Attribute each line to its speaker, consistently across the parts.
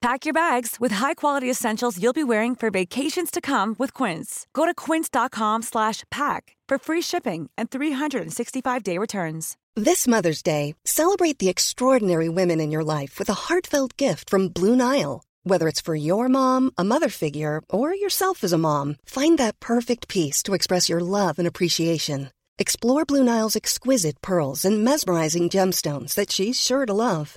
Speaker 1: Pack your bags with high-quality essentials you'll be wearing for vacations to come with Quince. Go to quince.com/pack for free shipping and 365-day returns.
Speaker 2: This Mother's Day, celebrate the extraordinary women in your life with a heartfelt gift from Blue Nile. Whether it's for your mom, a mother figure, or yourself as a mom, find that perfect piece to express your love and appreciation. Explore Blue Nile's exquisite pearls and mesmerizing gemstones that she's sure to love.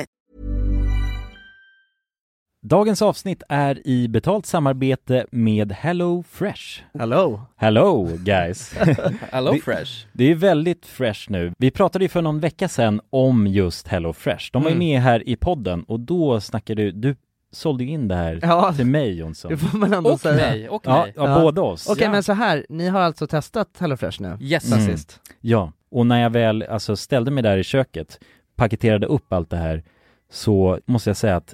Speaker 3: Dagens avsnitt är i betalt samarbete med Hello Fresh.
Speaker 4: Hello!
Speaker 3: Hello guys!
Speaker 4: Hello
Speaker 3: Det-
Speaker 4: Fresh!
Speaker 3: Det är väldigt fresh nu. Vi pratade ju för någon vecka sedan om just Hello Fresh. De var ju med här i podden och då snackade du, du sålde ju in det här
Speaker 4: Ja.
Speaker 3: till mig Jonsson.
Speaker 4: Det får man ändå
Speaker 5: Och
Speaker 4: säga.
Speaker 5: mig, och
Speaker 3: Ja,
Speaker 5: mig.
Speaker 3: ja,
Speaker 4: Ja.
Speaker 3: båda oss.
Speaker 4: Okej
Speaker 5: Ja.
Speaker 4: men så här, ni har alltså testat HelloFresh nu?
Speaker 5: Yes.
Speaker 4: Sen
Speaker 3: Mm.
Speaker 4: sist?
Speaker 3: Ja, och när jag väl alltså, ställde mig där i köket, paketerade upp allt det här, så måste jag säga att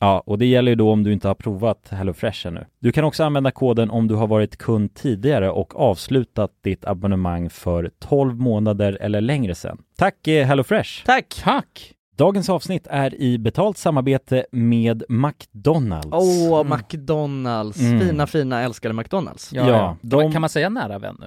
Speaker 3: Ja, och det gäller ju då om du inte har provat HelloFresh ännu. Du kan också använda koden om du har varit kund tidigare och avslutat ditt abonnemang för 12 månader eller längre sedan. Tack eh, HelloFresh!
Speaker 4: Tack!
Speaker 5: Tack!
Speaker 3: Dagens avsnitt är i betalt samarbete med McDonalds.
Speaker 4: Åh,
Speaker 5: Mm.
Speaker 4: McDonalds.
Speaker 3: Mm.
Speaker 4: Fina, fina, älskade McDonalds.
Speaker 3: Ja, de-
Speaker 5: Kan, man, kan man säga nära vän nu?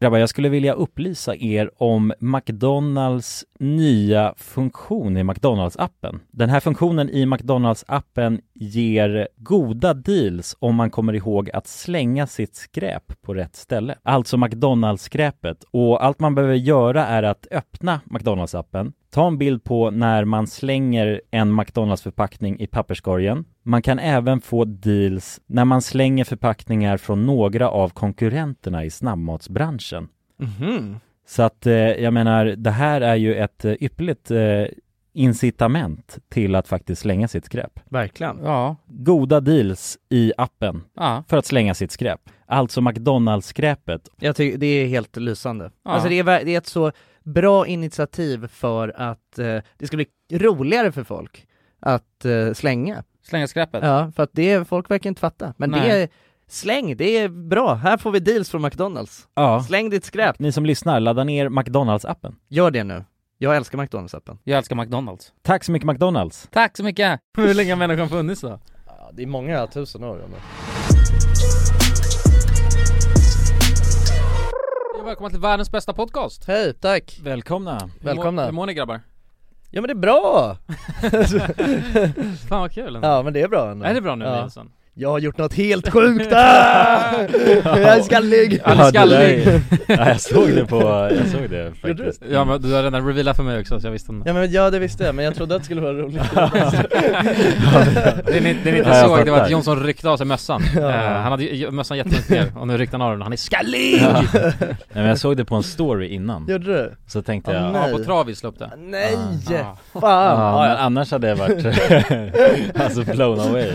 Speaker 3: Grabbar, jag skulle vilja upplysa er om McDonalds nya funktion i McDonalds-appen. Den här funktionen i McDonalds-appen ger goda deals om man kommer ihåg att slänga sitt skräp på rätt ställe. Alltså McDonalds-skräpet. Och allt man behöver göra är att öppna McDonalds-appen, ta en bild på när man slänger en McDonalds-förpackning i papperskorgen. Man kan även få deals när man slänger förpackningar från några av konkurrenterna i snabbmatsbranschen.
Speaker 4: Mhm.
Speaker 3: Så att eh, jag menar, det här är ju ett eh, ypperligt eh, incitament till att faktiskt slänga sitt skräp.
Speaker 4: Verkligen.
Speaker 5: Ja,
Speaker 3: Goda deals i appen
Speaker 5: ja.
Speaker 3: för att slänga sitt skräp. Alltså McDonalds-skräpet.
Speaker 4: Jag tycker det är helt lysande.
Speaker 5: Ja.
Speaker 4: Alltså det är, ver- det är ett så bra initiativ för att eh, det ska bli roligare för folk att eh, slänga.
Speaker 5: Slänga skräpet.
Speaker 4: Ja, för att det, är- folk verkar inte fatta. Men det
Speaker 5: Nej.
Speaker 4: är, släng, det är bra. Här får vi deals från McDonalds.
Speaker 3: Ja.
Speaker 4: Släng ditt skräp.
Speaker 3: Ni som lyssnar, ladda ner McDonalds-appen.
Speaker 4: Gör det nu. Jag älskar McDonalds-appen.
Speaker 5: Jag älskar McDonalds.
Speaker 3: Tack så mycket McDonalds!
Speaker 5: Tack så mycket! Hur länge har människan funnits då?
Speaker 4: det är många tusen år.
Speaker 6: välkomna till världens bästa podcast!
Speaker 4: Hej, tack!
Speaker 3: Välkomna!
Speaker 6: Hur mår, hur
Speaker 4: Välkomna!
Speaker 6: mår ni grabbar?
Speaker 4: Ja men det är bra!
Speaker 6: Fan vad kul ändå.
Speaker 4: Ja men det är bra ändå
Speaker 6: Är det bra nu
Speaker 4: Ja.
Speaker 6: Nilsson?
Speaker 4: Jag har gjort något helt sjukt! Ah! Jag är skallig!
Speaker 6: Alice
Speaker 3: Ja, det där
Speaker 6: Gallig.
Speaker 3: är- ja, jag såg det på, jag såg det faktiskt
Speaker 6: Ja men du har redan revealat för mig också så jag visste inte.
Speaker 4: Ja men ja det visste jag, men jag trodde att det skulle vara roligt
Speaker 6: Det ni, det ni inte
Speaker 3: Ja, jag
Speaker 6: såg det var
Speaker 3: fattar.
Speaker 6: att Jonsson ryckte av sig mössan. Eh, han hade ju mössan jättelångt ner och nu ryckte han av den. Han är skallig! Ja,
Speaker 3: Nej men jag såg det på en story innan,
Speaker 4: Gjorde du?
Speaker 3: så tänkte
Speaker 4: Ja,
Speaker 3: jag "Ah,
Speaker 4: nej.
Speaker 6: på travis la upp det.
Speaker 4: Nej!
Speaker 6: Ah. Ja.
Speaker 4: Fan!
Speaker 3: Ja,
Speaker 4: Ja,
Speaker 3: men
Speaker 4: ja.
Speaker 3: annars hade jag varit alltså blown away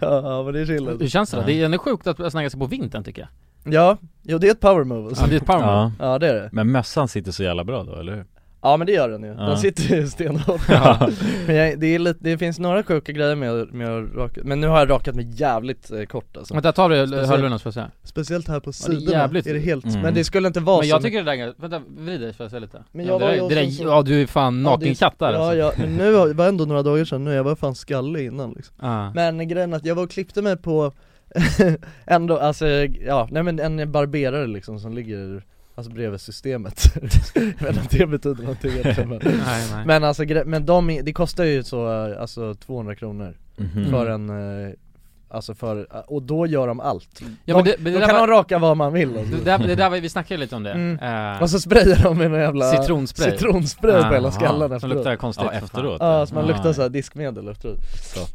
Speaker 4: ja men det är chillen
Speaker 6: Hur känns det då? Det är ändå sjukt att snagga sig på vintern tycker jag.
Speaker 4: Ja, jo det är ett power move
Speaker 6: Ja,
Speaker 4: alltså.
Speaker 6: det är ett par ja.
Speaker 3: Ja,
Speaker 4: Ja det är det
Speaker 3: men mössan sitter så jävla bra då, eller hur?
Speaker 4: Ja men det gör den ju,
Speaker 3: Ja.
Speaker 4: den sitter ju stenhårt Men jag, det, är lite, det finns några sjuka grejer med, med att raka, men nu har jag rakat mig jävligt eh, kort alltså
Speaker 6: Vänta, tar du
Speaker 4: Speciellt-
Speaker 6: hörlurarna så får jag säga.
Speaker 4: Speciellt här på
Speaker 6: det är sidorna jävligt- är det
Speaker 4: helt,
Speaker 3: Mm.
Speaker 4: men det skulle inte vara
Speaker 6: Men jag
Speaker 4: så
Speaker 6: tycker det där, vänta, vrid dig får jag säga lite.
Speaker 4: Men
Speaker 6: ja,
Speaker 4: jag
Speaker 6: det
Speaker 4: var
Speaker 6: där,
Speaker 4: ju
Speaker 6: det
Speaker 4: också
Speaker 6: där,
Speaker 4: så-
Speaker 6: ja du är fan
Speaker 4: Ja, det är-
Speaker 6: naken katt där
Speaker 4: Ja,
Speaker 6: alltså.
Speaker 4: ja, men nu har- det var ändå några dagar sedan nu, jag var fan skallig innan liksom.
Speaker 6: Ja.
Speaker 4: Men grejen är att jag var och klippte mig på, ändå, alltså, ja, nej men en barberare liksom som ligger Alltså bredvid systemet, jag vet inte om det betyder någonting egentligen, men,
Speaker 6: Nej, nej.
Speaker 4: men alltså gre- men de, är- det kostar ju så, eh, alltså 200 kronor
Speaker 3: Mhm.
Speaker 6: Mm.
Speaker 4: för en, eh, alltså för, och då gör de allt
Speaker 6: ja, men
Speaker 4: de,
Speaker 6: det, men det,
Speaker 4: Då
Speaker 6: där
Speaker 4: kan
Speaker 6: var,
Speaker 4: de raka vad man vill alltså.
Speaker 6: det, där, det där var, vi snackade lite om det.
Speaker 4: Mm.
Speaker 6: Eh,
Speaker 4: Och så sprayar de med någon jävla
Speaker 6: Citronspray.
Speaker 4: citronspray på hela
Speaker 6: Aha,
Speaker 4: skallen
Speaker 6: Som
Speaker 4: efteråt
Speaker 6: luktar konstigt.
Speaker 3: Ja, efteråt
Speaker 4: Ja, så man
Speaker 3: Ja,
Speaker 4: luktar
Speaker 3: ja.
Speaker 4: såhär diskmedel efteråt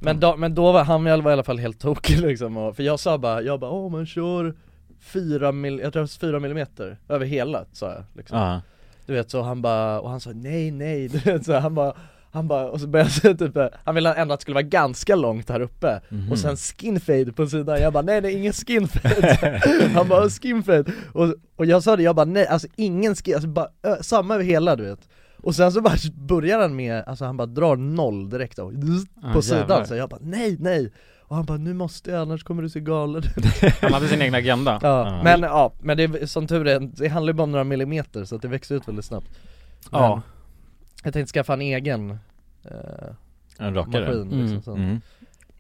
Speaker 4: men då, men då var han väl var i alla fall helt tokig liksom, och, för jag sa bara, jag bara åh man kör 4 mil, jag tror 4 millimeter över hela sa jag liksom.
Speaker 3: Ja,
Speaker 4: Du vet så han bara, och han sa nej nej, du vet så han bara han bara, och så började jag säga typ, eh, han ville ändå att det skulle vara ganska långt här uppe Och sen skinfade på sidan, jag bara nej nej ingen skinfade Han bara skinfade, och, och jag sa det, jag bara nej alltså ingen skin, alltså bara ö, samma över hela du vet Och sen så bara börjar han med, alltså han bara drar noll direkt och, på
Speaker 6: jävlar.
Speaker 4: sidan så jag bara nej nej Och han bara nu måste jag annars kommer du se galen ut
Speaker 6: Han hade sin egen agenda.
Speaker 4: Ja,
Speaker 3: Ja.
Speaker 4: men ja, men det är som tur är, det handlar ju bara om några millimeter så att det växer ut väldigt snabbt men,
Speaker 6: Ja.
Speaker 4: Jag tänkte skaffa en egen eh,
Speaker 3: en rakare
Speaker 4: maskin
Speaker 6: Mm.
Speaker 4: liksom, sen,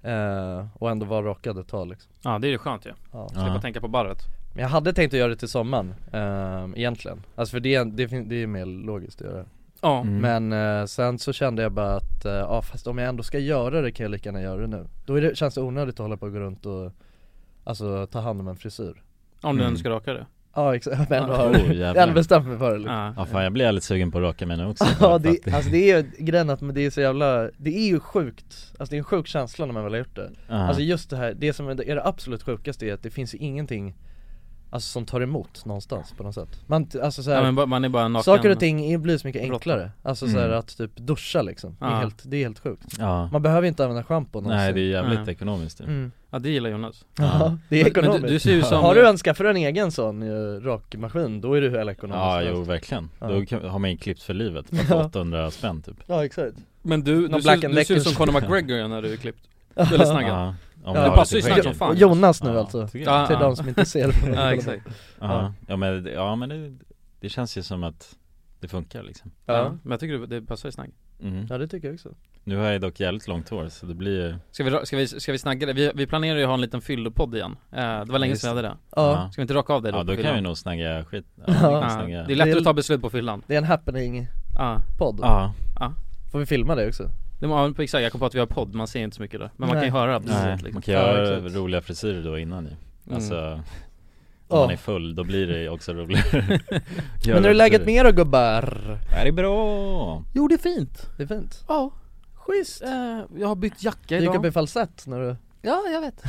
Speaker 3: mm.
Speaker 4: eh, och ändå vara rakad ett tag liksom
Speaker 6: Ja det är ju skönt ju,
Speaker 4: ja.
Speaker 6: slippa
Speaker 3: Ja.
Speaker 6: tänka på barret
Speaker 4: Men jag hade tänkt att göra det till sommaren, eh, egentligen Alltså för det, det, fin- det är ju mer logiskt att göra
Speaker 6: Ja,
Speaker 3: Mm.
Speaker 4: Men eh, sen så kände jag bara att, eh, ja fast om jag ändå ska göra det kan jag lika gärna göra det nu Då är det, känns det onödigt att hålla på och gå runt och, alltså ta hand om en frisyr
Speaker 6: om du
Speaker 3: Mm.
Speaker 6: ändå ska raka det
Speaker 4: Ja exakt, men ändå har
Speaker 3: Oh,
Speaker 4: jag hade
Speaker 3: jävlar.
Speaker 4: bestämt mig för det liksom.
Speaker 3: Ja fan jag blir jävligt sugen på att raka mig nu också
Speaker 4: Ja det, alltså det är ju grejen att men det är så jävla, det är ju sjukt, alltså det är en sjuk känsla när man väl har gjort det
Speaker 3: Ja.
Speaker 4: Alltså just det här, det som är det är det absolut sjukaste är att det finns ju ingenting Alltså som tar emot någonstans på något sätt Man, t- alltså så
Speaker 6: ja,
Speaker 4: här,
Speaker 6: men ba- man är bara naken
Speaker 4: saker och ting är- blir så mycket
Speaker 6: Blotta.
Speaker 4: enklare Alltså så här
Speaker 3: Mm.
Speaker 4: att typ duscha liksom, det,
Speaker 6: Ja.
Speaker 4: är helt, det är helt sjukt
Speaker 3: ja.
Speaker 4: Man behöver inte använda schampo någonsin
Speaker 3: Nej det är jävligt
Speaker 6: Nej.
Speaker 3: ekonomiskt ju.
Speaker 4: mm.
Speaker 6: Ja det gillar Jonas
Speaker 4: Ja, det är
Speaker 6: Men- men
Speaker 4: ekonomiskt
Speaker 6: du, du ser ju som
Speaker 4: Har du en, skaffar du en egen sån eh, rakmaskin, då är du hela ekonomisk
Speaker 3: Ja jo verkligen,
Speaker 4: Ja.
Speaker 3: då kan, har man ju klippt för livet, bara för 800 spänn typ
Speaker 4: Ja exakt
Speaker 6: Men du, du,
Speaker 4: Någon
Speaker 6: ser,
Speaker 4: Black and
Speaker 6: du ser ut
Speaker 4: Decker.
Speaker 6: som Conor McGregor när du är klippt Eller snaggad ja.
Speaker 3: Ja, om
Speaker 4: Ja.
Speaker 3: jag har
Speaker 4: Det passar
Speaker 6: ju
Speaker 3: lite
Speaker 6: snart
Speaker 3: skägg.
Speaker 6: som fan.
Speaker 4: Jonas nu
Speaker 3: Ja,
Speaker 4: alltså,
Speaker 3: tycker jag.
Speaker 6: Ja,
Speaker 4: till
Speaker 6: ja.
Speaker 4: de som inte ser på
Speaker 6: exakt
Speaker 3: Ja, ja men, det- ja, men det, det känns ju som att det funkar liksom
Speaker 6: ja.
Speaker 4: Ja.
Speaker 6: Men jag tycker det, det passar i snagg
Speaker 3: mm.
Speaker 4: ja det tycker jag också
Speaker 3: Nu har jag dock jävligt långt hår så det blir ju
Speaker 6: Ska vi, ra- ska vi, ska vi snagga det? Vi, vi planerar ju att ha en liten fyllepodd igen eh, Det var länge
Speaker 3: Just
Speaker 6: sedan vi hade det
Speaker 4: Ja,
Speaker 6: Ska vi inte raka av dig då?
Speaker 3: Ja
Speaker 6: på
Speaker 3: då kan
Speaker 6: fyllan?
Speaker 3: vi nog snagga skit, ja,
Speaker 4: Ja.
Speaker 3: vi kan
Speaker 6: ja.
Speaker 3: snagga
Speaker 6: Det är lättare
Speaker 4: Det är-
Speaker 6: att ta beslut på fyllan
Speaker 4: det är en happening-podd
Speaker 6: Ja,
Speaker 3: Ja,
Speaker 4: Får vi filma det också?
Speaker 6: det var, ja, på exakt, jag kom på att vi har podd, man ser inte så mycket där Men man
Speaker 4: Nej.
Speaker 6: kan ju höra
Speaker 3: nej,
Speaker 6: precis
Speaker 3: man
Speaker 6: liksom.
Speaker 3: kan
Speaker 4: Ja,
Speaker 3: göra
Speaker 4: exakt. Mm.
Speaker 3: roliga frisyrer då innan ju
Speaker 6: Mm.
Speaker 3: Alltså, om
Speaker 4: Ja.
Speaker 3: man är full då blir det ju också roligare
Speaker 4: Men hur är läget med er då gubbar?
Speaker 3: Är det är bra?
Speaker 6: Jo det är fint
Speaker 4: Det är fint
Speaker 6: Ja Schysst Jag har bytt
Speaker 4: Du
Speaker 6: jacka
Speaker 4: gick upp i falsett när du...
Speaker 6: Ja, jag vet.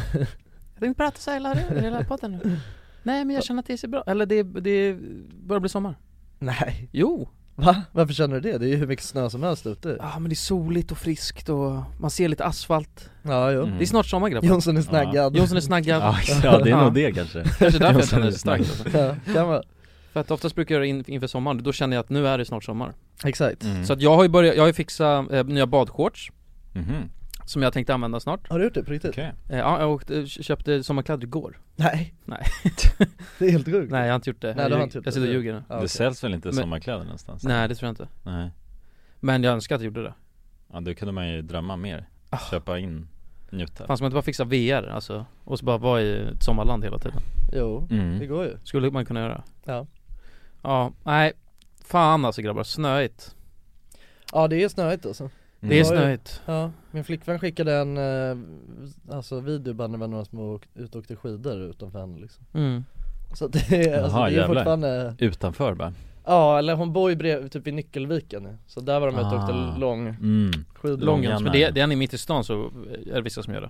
Speaker 6: Jag tänkte prata så hela, hela podden nu. Nej men jag känner att det ser bra, eller det, det börjar bli sommar.
Speaker 4: Nej
Speaker 6: Jo!
Speaker 4: Va? Varför känner du det? Det är ju hur mycket snö som helst ute
Speaker 6: Ja men det är soligt och friskt och man ser lite asfalt.
Speaker 4: Ja jo
Speaker 3: Mm.
Speaker 6: Det är snart sommar grabbar.
Speaker 4: Jonsson är snaggad
Speaker 6: Jonsson är snaggad.
Speaker 3: Ja, ja det är
Speaker 6: Ja.
Speaker 3: nog det kanske
Speaker 6: Kanske därför jag
Speaker 3: Jonsson
Speaker 6: känner
Speaker 3: är
Speaker 6: det starkt.
Speaker 3: snaggad.
Speaker 6: alltså.
Speaker 4: Ja, kan vara
Speaker 6: För att oftast brukar jag göra in, inför sommaren, då känner jag att nu är det snart sommar.
Speaker 4: Exakt
Speaker 3: mm.
Speaker 6: Så att jag har ju börjat, jag har ju fixat eh, nya badshorts
Speaker 3: Mhm.
Speaker 6: som jag tänkte använda snart.
Speaker 4: Har du gjort det på riktigt?
Speaker 3: Okej,
Speaker 6: Eh, ja, jag åkte, köpte sommarkläder igår.
Speaker 4: Nej
Speaker 6: Nej.
Speaker 4: Det är helt sjukt
Speaker 6: Nej jag har inte gjort det.
Speaker 4: Nej, du har inte gjort
Speaker 6: jag sitter och
Speaker 4: det.
Speaker 6: ljuger nu.
Speaker 4: Ja, okej.
Speaker 3: det säljs väl inte
Speaker 6: Men-
Speaker 3: sommarkläder någonstans?
Speaker 6: Nej det tror jag inte.
Speaker 3: Nej.
Speaker 6: Men jag önskar att jag gjorde det.
Speaker 4: Ah.
Speaker 3: Ja då kunde man ju drömma mer, köpa in njuta.
Speaker 6: Fan ska man inte bara fixa VR alltså? Och så bara vara i ett sommarland hela tiden?
Speaker 4: Jo, det
Speaker 3: Mm.
Speaker 4: går ju
Speaker 6: Skulle man kunna göra
Speaker 4: Ja.
Speaker 6: Ja, nej Fan alltså grabbar, snöigt
Speaker 4: Ja det är snöigt alltså
Speaker 3: Mm.
Speaker 6: Det är
Speaker 4: Ja, ja.
Speaker 6: snöigt
Speaker 4: Ja, min flickvän skickade en eh, alltså videoband när vi var några små och ut och åkte skidor utanför henne liksom
Speaker 6: mm.
Speaker 4: Så att det är, alltså,
Speaker 3: Jaha,
Speaker 4: det är
Speaker 3: jävlar.
Speaker 4: fortfarande
Speaker 3: Utanför bara.
Speaker 4: Ja eller hon bor ju brev, typ i Nyckelviken nu. Så där var de ute och
Speaker 3: Ah.
Speaker 4: åkte lång
Speaker 3: Mm.
Speaker 4: skidor
Speaker 6: Långens, men det,
Speaker 3: Långarna.
Speaker 6: det är ni mitt i stan så är det vissa som gör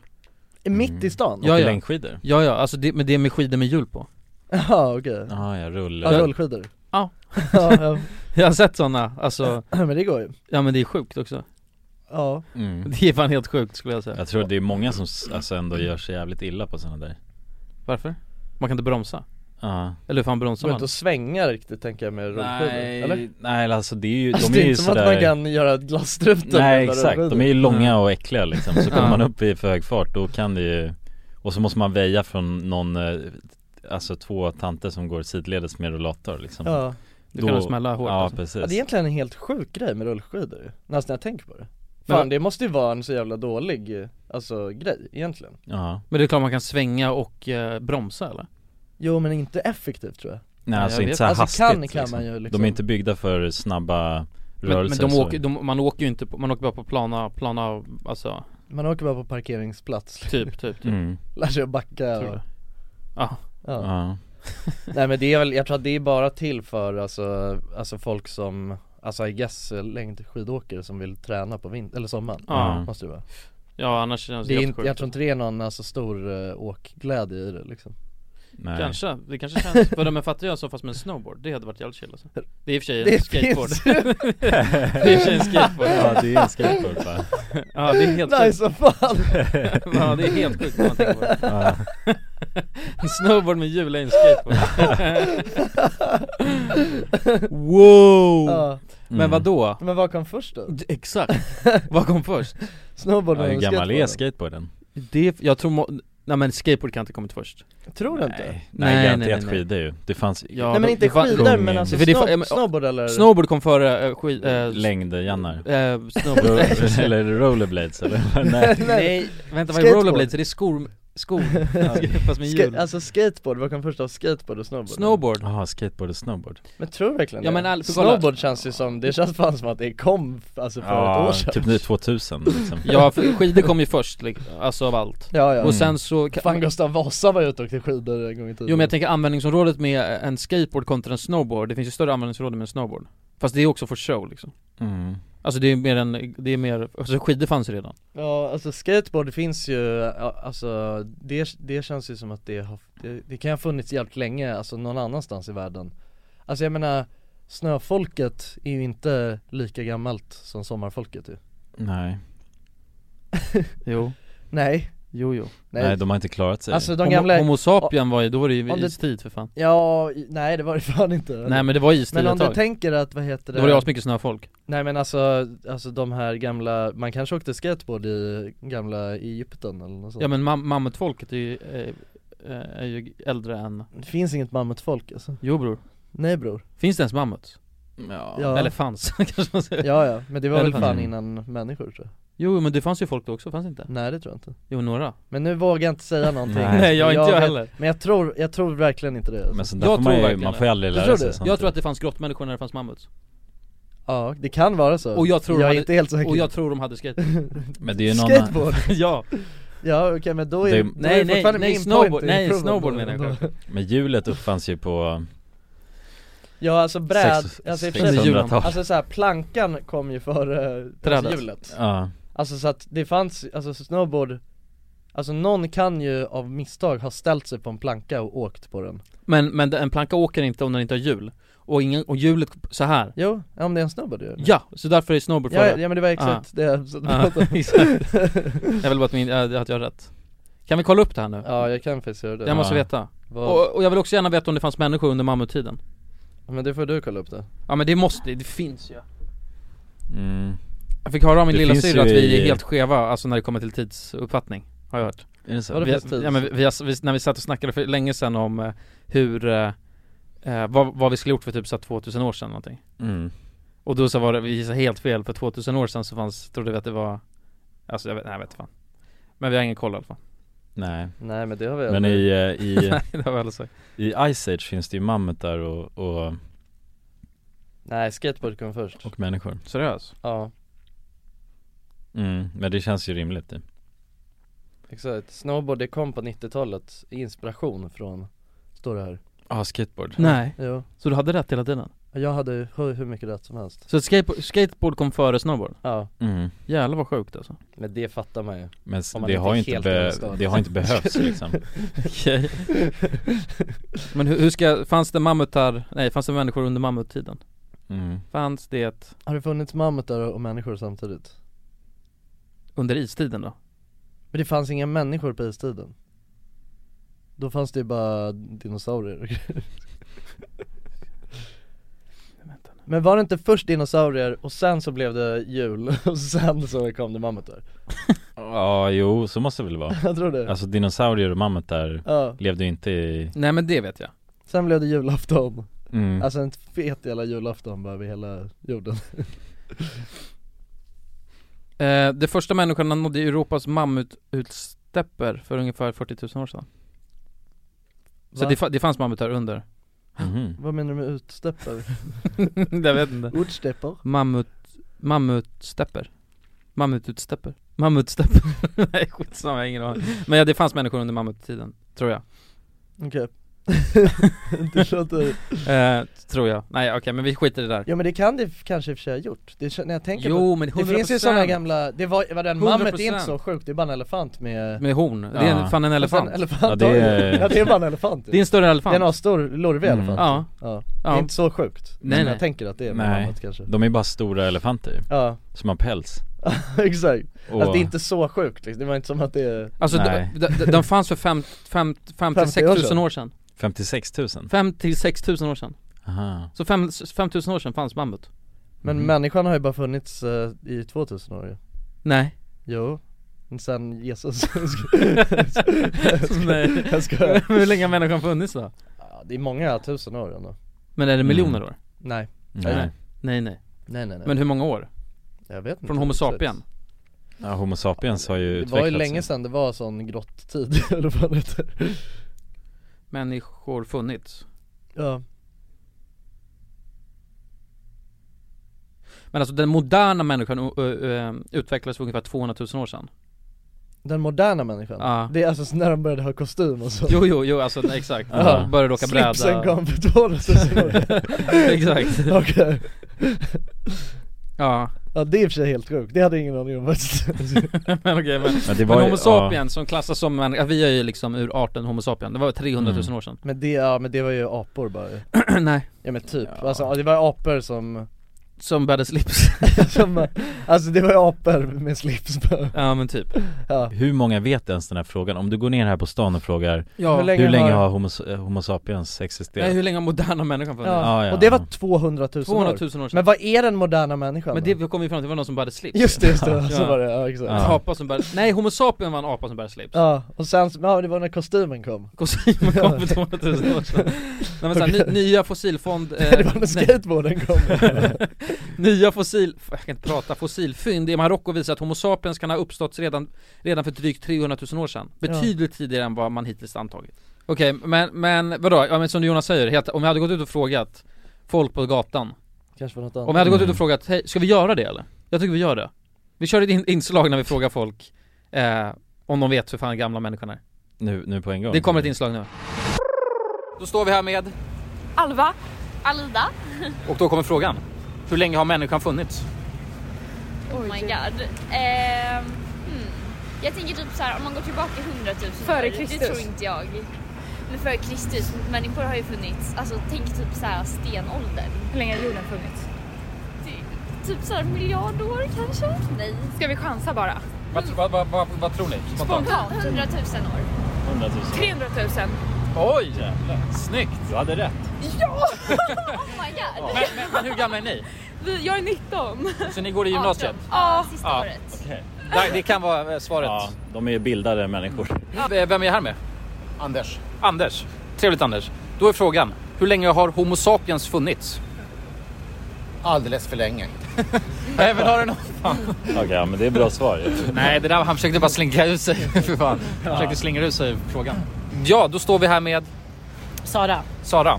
Speaker 6: det
Speaker 4: Mitt
Speaker 3: Mm.
Speaker 4: i stan?
Speaker 6: Ja,
Speaker 3: Åker
Speaker 6: ja.
Speaker 3: längdskidor?
Speaker 6: Ja ja, alltså det, men det är med skidor med hjul på
Speaker 4: Ja okej,
Speaker 3: Ja, jag
Speaker 4: ja
Speaker 3: rullar.
Speaker 4: rullskidor
Speaker 6: Ja.
Speaker 4: ja,
Speaker 6: Jag har sett sådana, alltså,
Speaker 4: ja, men det går ju
Speaker 6: ja men det är sjukt också
Speaker 4: Ja,
Speaker 3: Mm.
Speaker 6: Det är fan helt sjukt skulle jag säga
Speaker 3: Jag tror det är många som s- alltså ändå gör sig jävligt illa på sådana där.
Speaker 6: Varför? Man kan inte bromsa?
Speaker 3: Ja.
Speaker 6: Eller hur fan
Speaker 4: det
Speaker 6: bromsar
Speaker 4: går
Speaker 6: man?
Speaker 4: inte att svänga riktigt tänker jag med rullskidor, eller?
Speaker 3: Nej, nej alltså det är ju,
Speaker 4: Alltså,
Speaker 3: de
Speaker 4: det
Speaker 3: är
Speaker 4: är
Speaker 3: ju
Speaker 4: inte som att man
Speaker 3: sådär
Speaker 4: kan göra ett glasstrutor
Speaker 3: Nej
Speaker 4: med
Speaker 3: exakt,
Speaker 4: rullskidor.
Speaker 3: de är ju långa och äckliga liksom. Så kommer
Speaker 6: Ja.
Speaker 3: man upp i för hög fart då kan det ju Och så måste man väja från någon eh, Alltså två tanter som går sidledes med rullator liksom
Speaker 4: ja.
Speaker 6: Det kan
Speaker 3: Då-
Speaker 6: nog smälla hårt
Speaker 3: Ja
Speaker 6: alltså.
Speaker 3: precis
Speaker 4: ja, det är egentligen en helt sjuk grej med rullskidor ju. Nästan när jag tänker på det
Speaker 6: Men-
Speaker 4: Fan det måste ju vara en så jävla dålig, eh, alltså grej egentligen
Speaker 3: Ja,
Speaker 6: Men det är klart man kan svänga och eh, bromsa eller?
Speaker 4: Jo men inte effektivt tror jag
Speaker 3: nej
Speaker 6: jag
Speaker 3: alltså inte
Speaker 6: vet.
Speaker 3: så här
Speaker 4: Alltså
Speaker 3: hastigt
Speaker 4: kan, kan
Speaker 3: liksom.
Speaker 4: man ju liksom
Speaker 3: De är inte byggda för snabba
Speaker 6: Men,
Speaker 3: rörelser
Speaker 6: men de
Speaker 3: så-
Speaker 6: åker, de, man åker ju inte på, man åker bara på plana, plana, alltså
Speaker 4: Man åker bara på parkeringsplats,
Speaker 6: typ, typ, typ
Speaker 3: mm.
Speaker 4: lär sig att backa
Speaker 6: Tror
Speaker 4: och,
Speaker 6: jag. Ja,
Speaker 4: ja.
Speaker 3: ja.
Speaker 4: Nej men det är väl, jag tror att det är bara till för alltså, alltså folk som, alltså I guess eh, längdskidåkare som vill träna på vintern, eller sommaren
Speaker 6: ja, Alltså,
Speaker 4: Måste det vara
Speaker 6: ja annars känns
Speaker 4: det är
Speaker 6: det, helt
Speaker 4: inte,
Speaker 6: sjukt
Speaker 4: Jag tror inte det är någon alltså stor eh, åkglädje i det liksom
Speaker 3: Nej.
Speaker 6: Kanske, det kanske känns, vadå men fattar jag så fast med en snowboard, det hade varit jävligt chill alltså. Det är i och för sig en
Speaker 4: Det
Speaker 6: skateboard
Speaker 4: finns
Speaker 6: Det är i och för sig en skateboard, ja,
Speaker 3: Ja det är en skateboard bara.
Speaker 6: ja det är helt
Speaker 4: Nej
Speaker 6: sjukt,
Speaker 4: så fan!
Speaker 6: ja det är helt sjukt när man tänker på det En snowboard med hjul är en skateboard Wow!
Speaker 4: ja.
Speaker 3: Mm.
Speaker 6: Men vad då?
Speaker 4: Men vad kom först då?
Speaker 6: Exakt, vad kom först?
Speaker 4: Snowboarden
Speaker 3: Ja,
Speaker 4: eller
Speaker 3: hur gammal är
Speaker 4: skateboarden?
Speaker 3: skateboarden?
Speaker 6: Det, jag tror, må- nej men skateboard kan inte kommit först
Speaker 4: Tror du inte? Nej,
Speaker 3: Nej,
Speaker 6: Nej,
Speaker 3: garanterat
Speaker 6: nej, nej, nej.
Speaker 3: skidor ju. Det fanns
Speaker 6: Ja,
Speaker 4: men
Speaker 6: de-
Speaker 4: inte
Speaker 6: det var-
Speaker 4: skidor men
Speaker 3: kungen.
Speaker 4: alltså
Speaker 6: För det är
Speaker 4: snow-
Speaker 6: fa- ja, men-
Speaker 4: snowboard eller?
Speaker 6: Snowboard kom före äh, skid, äh,
Speaker 3: längd-Jannar.
Speaker 6: äh, snowboard
Speaker 3: Ro- eller rollerblades eller? Nej.
Speaker 6: Alltså, Nej, vänta vad är
Speaker 4: Skateboard.
Speaker 6: rollerblades? Är det skor, skor? Fast med hjul?
Speaker 4: Ska- alltså skateboard, vad kom först då? Skateboard och snowboard?
Speaker 6: Snowboard?
Speaker 3: Jaha, Ah, skateboard och snowboard.
Speaker 4: Men tror du verkligen
Speaker 6: Ja,
Speaker 4: det?
Speaker 6: men all- för kolla-
Speaker 4: Snowboard känns ju som, det känns fan som att det kom alltså för ett år sedan
Speaker 3: typ nu 2000 liksom.
Speaker 6: Ja, för skidor kom ju först, like, alltså av allt
Speaker 4: Ja ja,
Speaker 6: Och sen så,
Speaker 4: fan Gustav Vasa var ute och åkte skidor en gång i tiden
Speaker 6: jo men jag tänker användningsområdet med en skateboard kontra en snowboard, det finns ju större användningsområde med en snowboard Fast det är också för show liksom
Speaker 3: Mm.
Speaker 6: Alltså det är mer en, det är mer, alltså skidor fanns ju redan
Speaker 4: Ja alltså skateboard finns ju, ja, alltså det, det känns ju som att det har, det, det kan ha funnits jävligt länge, alltså någon annanstans i världen Alltså jag menar, snöfolket är ju inte lika gammalt som sommarfolket ju
Speaker 3: Nej.
Speaker 6: Jo,
Speaker 4: Nej,
Speaker 6: jo jo
Speaker 3: nej,
Speaker 4: nej,
Speaker 3: de har inte klarat sig.
Speaker 4: Alltså de
Speaker 6: Homo,
Speaker 4: gamla,
Speaker 6: Homo sapien var ju, då var det ju
Speaker 4: Om det-
Speaker 6: istid för fan
Speaker 4: ja, i- nej det var det fan inte
Speaker 6: Nej men det var istid
Speaker 4: Men om
Speaker 6: ett
Speaker 4: du
Speaker 6: tag,
Speaker 4: tänker att, vad heter det?
Speaker 6: då var det asmycket snöfolk
Speaker 4: Nej men alltså, alltså de här gamla, man kanske åkte skateboard i gamla Egypten eller något sånt
Speaker 6: Ja men mam- mammutfolket är ju, eh, eh, är ju äldre än,
Speaker 4: Det finns inget mammutfolk alltså
Speaker 6: jo bror
Speaker 4: Nej bror
Speaker 6: Finns det ens mammut?
Speaker 3: ja.
Speaker 4: Ja.
Speaker 6: Eller fanns kanske man säger
Speaker 4: Ja ja, men det var väl
Speaker 6: Elefanter.
Speaker 4: fan innan människor tror jag
Speaker 6: Jo men det fanns ju folk då också, fanns det inte?
Speaker 4: Nej det tror jag inte
Speaker 6: Jo några
Speaker 4: Men nu vågar jag inte säga någonting
Speaker 3: Nej.
Speaker 6: Nej jag är inte jag
Speaker 4: vet-
Speaker 6: heller
Speaker 4: Men jag tror, jag tror verkligen inte det alltså.
Speaker 3: Men sånt där
Speaker 6: Jag
Speaker 3: får man ju,
Speaker 6: tror verkligen
Speaker 3: man
Speaker 6: det.
Speaker 3: får ju aldrig
Speaker 4: Du
Speaker 3: lära
Speaker 4: tror
Speaker 3: sig
Speaker 4: det?
Speaker 3: sånt.
Speaker 6: Jag tror att det fanns grottmänniskor när det fanns mammuts
Speaker 4: Ja, det kan vara så
Speaker 6: Och jag
Speaker 4: Jag
Speaker 6: tror de
Speaker 4: är
Speaker 6: hade-
Speaker 4: inte helt säker
Speaker 6: Och jag tror de hade skateboard
Speaker 3: Men det är ju någon
Speaker 4: Skateboard?
Speaker 6: Ja,
Speaker 4: Ja okej men då är
Speaker 3: Det-
Speaker 4: då är
Speaker 6: nej nej,
Speaker 4: fortfarande
Speaker 6: nej
Speaker 4: min
Speaker 6: snowboard,
Speaker 4: point
Speaker 6: nej
Speaker 4: improvement
Speaker 6: snowboard
Speaker 4: då.
Speaker 6: menar jag självklart.
Speaker 3: Men hjulet uppfanns ju på
Speaker 4: Ja alltså bräd,
Speaker 3: sex-
Speaker 4: alltså i och för sig-
Speaker 3: 600-talet.
Speaker 4: Alltså såhär, plankan kom ju före eh, alltså,
Speaker 6: Trädet.
Speaker 4: hjulet
Speaker 3: Ja.
Speaker 4: Alltså så att det fanns, alltså snowboard Alltså någon kan ju av misstag ha ställt sig på en planka och åkt på den
Speaker 6: Men, men en planka åker inte om den inte har hjul Och, ingen, och hjulet så här
Speaker 4: Jo, ja, om det är en snowboard gör det.
Speaker 6: Ja, så därför är snowboard
Speaker 4: ja,
Speaker 6: före
Speaker 4: ja men det var
Speaker 3: Ah.
Speaker 4: exakt det jag satt och
Speaker 6: Ja,
Speaker 4: pratade om.
Speaker 6: exakt. Jag vill bara att, min, äh, att jag har rätt Kan vi kolla upp det här nu?
Speaker 4: Ja jag kan faktiskt göra det
Speaker 6: Jag måste
Speaker 3: Ja.
Speaker 6: veta
Speaker 4: Vad-
Speaker 6: och, och jag vill också gärna veta om det fanns människor under mammuttiden
Speaker 4: Men det får du kolla upp det
Speaker 6: Ja men det måste, det finns ju
Speaker 3: Mm.
Speaker 6: Jag fick höra av min
Speaker 3: Det
Speaker 6: lilla
Speaker 3: finns
Speaker 6: syster att
Speaker 3: ju
Speaker 6: vi
Speaker 3: i-
Speaker 6: är helt skeva, alltså när det kommer till tidsuppfattning Har jag hört
Speaker 3: Är det så?
Speaker 4: Vadå?
Speaker 6: vi,
Speaker 4: finns tids?
Speaker 6: ja, men vi, vi, har- vi, när vi satt och snackade för länge sedan om eh, hur, eh, eh, vad, vad vi skulle gjort för typ så här 2000 år sedan någonting
Speaker 3: Mm.
Speaker 6: Och då så var det, vi gissade helt fel, för 2000 år sedan så fanns, trodde vi att det var Alltså jag vet, nej jag vet fan Men vi har ingen koll i alla fall.
Speaker 3: Nej,
Speaker 4: Nej men det har vi
Speaker 3: men i, eh, i,
Speaker 6: Nej, det har vi aldrig sagt.
Speaker 3: i Ice Age finns det ju mammutar och, och,
Speaker 4: Nej skateboard kom först
Speaker 3: och människor
Speaker 6: Seriöst?
Speaker 4: Ja,
Speaker 3: mm, Men det känns ju rimligt det.
Speaker 4: exakt Snowboard det kom på 90-talet, inspiration från Står det här
Speaker 3: Ja, ah, skateboard
Speaker 6: Nej.
Speaker 4: Jo,
Speaker 6: Så du hade rätt hela tiden?
Speaker 4: jag hade ju hur, hur mycket rätt som helst
Speaker 6: Så skateboard, skateboard kom före snowboard?
Speaker 4: Ja,
Speaker 3: mm.
Speaker 6: Jävlar vad sjukt alltså
Speaker 4: men det fattar man ju
Speaker 3: Men s-
Speaker 4: Om man
Speaker 3: det
Speaker 4: inte
Speaker 3: har,
Speaker 4: är
Speaker 3: ju inte
Speaker 4: helt
Speaker 3: be,
Speaker 4: överstånd.
Speaker 3: det har inte behövts liksom
Speaker 6: Okej Men hur, hur ska, fanns det mammutar, nej fanns det människor under mammuttiden?
Speaker 3: mm.
Speaker 6: Fanns det
Speaker 4: Har det funnits mammutar och människor samtidigt?
Speaker 6: under istiden då?
Speaker 4: Men det fanns inga människor på istiden Då fanns det ju bara dinosaurier och grejer. Men var det inte först dinosaurier och sen så blev det jul och sen så kom det mammutar?
Speaker 3: Ja, jo, så måste det väl vara
Speaker 4: Jag tror det
Speaker 3: Alltså dinosaurier och mammutar
Speaker 4: Ja,
Speaker 3: levde ju inte i
Speaker 6: Nej men det vet jag
Speaker 4: sen blev det julafton
Speaker 3: mm.
Speaker 4: Alltså en fet jävla julafton bara över hela jorden
Speaker 6: eh, De första människorna nådde Europas mammututstäpper för ungefär 40 000 år sedan Så
Speaker 4: Va?
Speaker 6: det, fa- det fanns mammutar under?
Speaker 3: Mhm.
Speaker 4: Vad menar du med utstäpper?
Speaker 6: jag vet inte
Speaker 4: Ortstäpper?
Speaker 6: Mammut, mammutstäpper Mammututstäpper Mammutstäpper Nej skitsamma, jag har ingen aning Men ja, det fanns människor under mammuttiden, tror jag
Speaker 4: Okej Det låter...
Speaker 6: eh, Tror jag, nej okej men vi skiter i det där
Speaker 4: Ja men det kan det kanske i och för sig ha gjort, det, kän- när jag tänker på
Speaker 6: Jo men 100%
Speaker 4: Det finns ju sådana gamla, det var, var den
Speaker 6: 100%.
Speaker 4: mammet är inte så sjukt, det är bara en elefant med
Speaker 6: Med horn, det är
Speaker 3: Ja.
Speaker 6: en, fan en elefant
Speaker 4: En elefant
Speaker 3: Ja,
Speaker 4: ja,
Speaker 3: det
Speaker 4: det
Speaker 3: är-
Speaker 4: är... ja det är bara en elefant
Speaker 6: Det är en större elefant
Speaker 4: Det är en stor lorvig
Speaker 3: Mm.
Speaker 4: elefant
Speaker 6: Ja,
Speaker 4: ja. Det är
Speaker 6: ja,
Speaker 4: inte så sjukt,
Speaker 6: Nej,
Speaker 4: men
Speaker 6: nej.
Speaker 4: jag tänker att det är med
Speaker 3: Nej.
Speaker 4: mammet kanske
Speaker 3: De är bara stora elefanter ju,
Speaker 4: Ja,
Speaker 3: som har päls
Speaker 4: exakt,
Speaker 3: och,
Speaker 4: alltså det är inte så sjukt liksom. det var inte som att det är
Speaker 6: alltså de,
Speaker 3: Nej.
Speaker 6: de, de fanns för 5 till 6
Speaker 4: 50 år
Speaker 6: 000
Speaker 4: sedan.
Speaker 6: år sedan
Speaker 3: 56 000?
Speaker 6: 5 till 6 000 år sedan
Speaker 3: Aha.
Speaker 6: Så 5 000 år sedan fanns mammut
Speaker 4: Men
Speaker 6: Mm.
Speaker 3: Mhm.
Speaker 4: människan har ju bara funnits eh, i 2000 år ju.
Speaker 6: Nej
Speaker 4: Jo, men sen Jesus
Speaker 6: Nej.
Speaker 4: Jag skojar
Speaker 6: Hur länge har människan funnits då?
Speaker 4: ja, Det är många tusen år ändå
Speaker 6: Men är det miljoner
Speaker 3: Mm.
Speaker 6: år?
Speaker 4: Nej,
Speaker 3: Nej.
Speaker 6: Nej nej,
Speaker 4: nej nej nej
Speaker 6: men hur många år?
Speaker 4: jag vet inte
Speaker 6: Från Homo
Speaker 4: exakt.
Speaker 6: sapien?
Speaker 3: Ja, Homo sapiens har ju
Speaker 4: Det
Speaker 3: utvecklats
Speaker 4: var ju länge sedan det var sån grotttid eller vad det heter
Speaker 6: Människor funnits
Speaker 4: Ja,
Speaker 6: Men alltså den moderna människan ö, ö, ö, utvecklades för ungefär 200 000 år sedan
Speaker 4: den moderna människan
Speaker 6: Ja.
Speaker 4: Det är alltså när de började ha kostym och så
Speaker 6: Jo jo jo alltså nej, exakt,
Speaker 3: Ja.
Speaker 6: började åka bräda
Speaker 4: Slipsen kom för 2000 år
Speaker 6: Exakt,
Speaker 4: Okej,
Speaker 6: ja
Speaker 4: ja det är i och för sig helt sjukt, det hade jag ingen aning om faktiskt
Speaker 6: Men okej men
Speaker 3: Men det var
Speaker 6: Men
Speaker 3: ju-
Speaker 6: Homo
Speaker 3: ja.
Speaker 6: sapiens som klassas som människa, vi är ju liksom ur arten Homo sapien, det var 300 000 år sedan
Speaker 4: Men det, ja men det var ju apor bara
Speaker 6: Mm. Nej,
Speaker 4: Ja men typ,
Speaker 3: Ja.
Speaker 4: alltså ja, det var ju apor som,
Speaker 6: som bärde slips
Speaker 4: som Alltså det var ju apor med slips på
Speaker 6: Ja men typ
Speaker 4: ja.
Speaker 3: Hur många vet ens den här frågan? Om du går ner här på stan och frågar
Speaker 6: Ja,
Speaker 4: Hur länge
Speaker 3: Hur länge
Speaker 4: har-
Speaker 3: har Homo, eh, homo sapiens
Speaker 6: nej,
Speaker 3: existerat?
Speaker 6: hur länge har moderna människan funnits?
Speaker 4: Ja.
Speaker 3: Ja, ja.
Speaker 4: Och det var 200 000
Speaker 6: 200 000
Speaker 4: år
Speaker 6: år sedan
Speaker 4: Men
Speaker 6: Men,
Speaker 4: vad är den moderna människan då?
Speaker 6: det kom vi fram till, det var någon som bärde slips
Speaker 4: Just det, just det, så
Speaker 6: Ja.
Speaker 4: var det, ja exakt
Speaker 3: Ja.
Speaker 4: ja.
Speaker 6: En apa som bär, nej Homo sapien var en apa som bär slips
Speaker 4: och sen, ja det var när kostymen kom
Speaker 6: Kostymen kom för 200 000 år sedan Nej men såhär, ny, nya fossilfond, eh,
Speaker 4: Det var när
Speaker 6: nej,
Speaker 4: skateboarden kom
Speaker 6: nya fossil, jag kan inte prata, fossilfynd i Marocko visar att Homo sapiens kan ha uppstått redan, redan för drygt 300 000 år sedan Betydligt tidigare än vad man hittills antagit Okej, men, men vadå, ja, men som Jonas säger, helt, om jag hade gått ut och frågat folk på gatan
Speaker 4: Kanske var något
Speaker 6: Om jag
Speaker 4: annat
Speaker 6: hade gått ut
Speaker 3: Mm.
Speaker 6: och frågat, hej, ska vi göra det eller? Jag tycker vi gör det Vi kör ett in- inslag när vi frågar folk eh, om de vet hur fan gamla människan är
Speaker 3: nu, nu på en gång?
Speaker 6: Det kommer ett inslag nu Då står vi här med
Speaker 7: Alva. Alida.
Speaker 6: Och då kommer frågan. Hur länge har människan funnits?
Speaker 7: Oh my god. Ehm, hmm. Jag tänker typ så här, om man går tillbaka 100 000
Speaker 8: Före
Speaker 7: år,
Speaker 8: Kristus.
Speaker 7: Det tror inte jag. Men före Kristus, människor har ju funnits. Alltså tänk typ så här stenåldern.
Speaker 8: Hur länge har jorden funnits?
Speaker 7: Det- Typ så här miljard år kanske? Nej.
Speaker 8: Ska vi chansa bara?
Speaker 6: Vad, vad, vad, vad, vad tror ni? Spontant.
Speaker 7: 100 000 år.
Speaker 3: 100 000
Speaker 8: 300 000.
Speaker 6: Oj! Snyggt!
Speaker 3: Du hade rätt!
Speaker 7: Oh my god.
Speaker 6: Men, men, men hur gamla är ni?
Speaker 8: Vi, jag är 19.
Speaker 6: Så ni går i gymnasiet?
Speaker 7: Ja, sista
Speaker 6: Ja.
Speaker 7: året.
Speaker 6: Där, det kan vara eh, svaret.
Speaker 3: Ja, de är ju bildade människor
Speaker 6: V- Vem är jag här med? Anders. Anders. Trevligt Anders. Då är frågan. Hur länge har Homo sapiens funnits?
Speaker 9: alldeles för länge.
Speaker 6: Nej men har du någon?
Speaker 3: Okej, ja, men det är bra svar ju.
Speaker 5: Nej, det där, han försökte bara slinka ut sig. För fan. Han försökte slingra ut sig ur frågan. Ja, då står vi här med
Speaker 10: Sara.
Speaker 5: Sara.